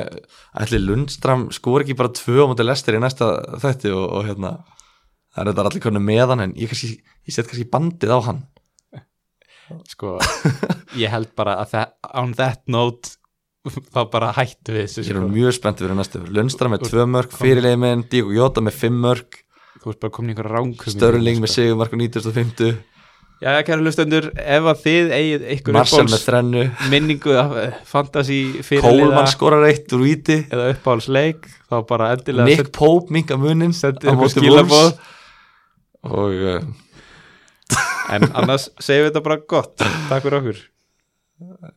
Speaker 2: ætli Lundstram skor ekki bara tvö á móti lestir í næsta þætti og, og hérna það er þetta allir konu með hann en ég, kannski, ég set kannski bandið á hann
Speaker 1: sko, ég held bara að það, on that note þá bara hættu við þessu
Speaker 2: ég er
Speaker 1: sko.
Speaker 2: mjög spenntið fyrir næstu Lundstram með
Speaker 1: Úr-
Speaker 2: tvö mörg, fyrirlega minn, Díko Jóta með fimm mörg
Speaker 1: þú veist bara komin í einhverja ránkum
Speaker 2: Störling með sigurmark á 95
Speaker 1: já, kæra lustendur, ef að þið eigið einhver
Speaker 2: Marcel með
Speaker 1: uppáhalds
Speaker 2: þrennu
Speaker 1: minningu af eh, fantasy fyrirliða
Speaker 2: Kólmann sko. skorar eitt úr víti
Speaker 1: eða uppáhaldsleik þá bara endilega
Speaker 2: Nick Pope minga munin
Speaker 1: Sendið
Speaker 2: á
Speaker 1: okkur
Speaker 2: móti
Speaker 1: skilaboð.
Speaker 2: Wolves. og uh,
Speaker 1: en annars segjum við þetta bara gott takk fyrir okkur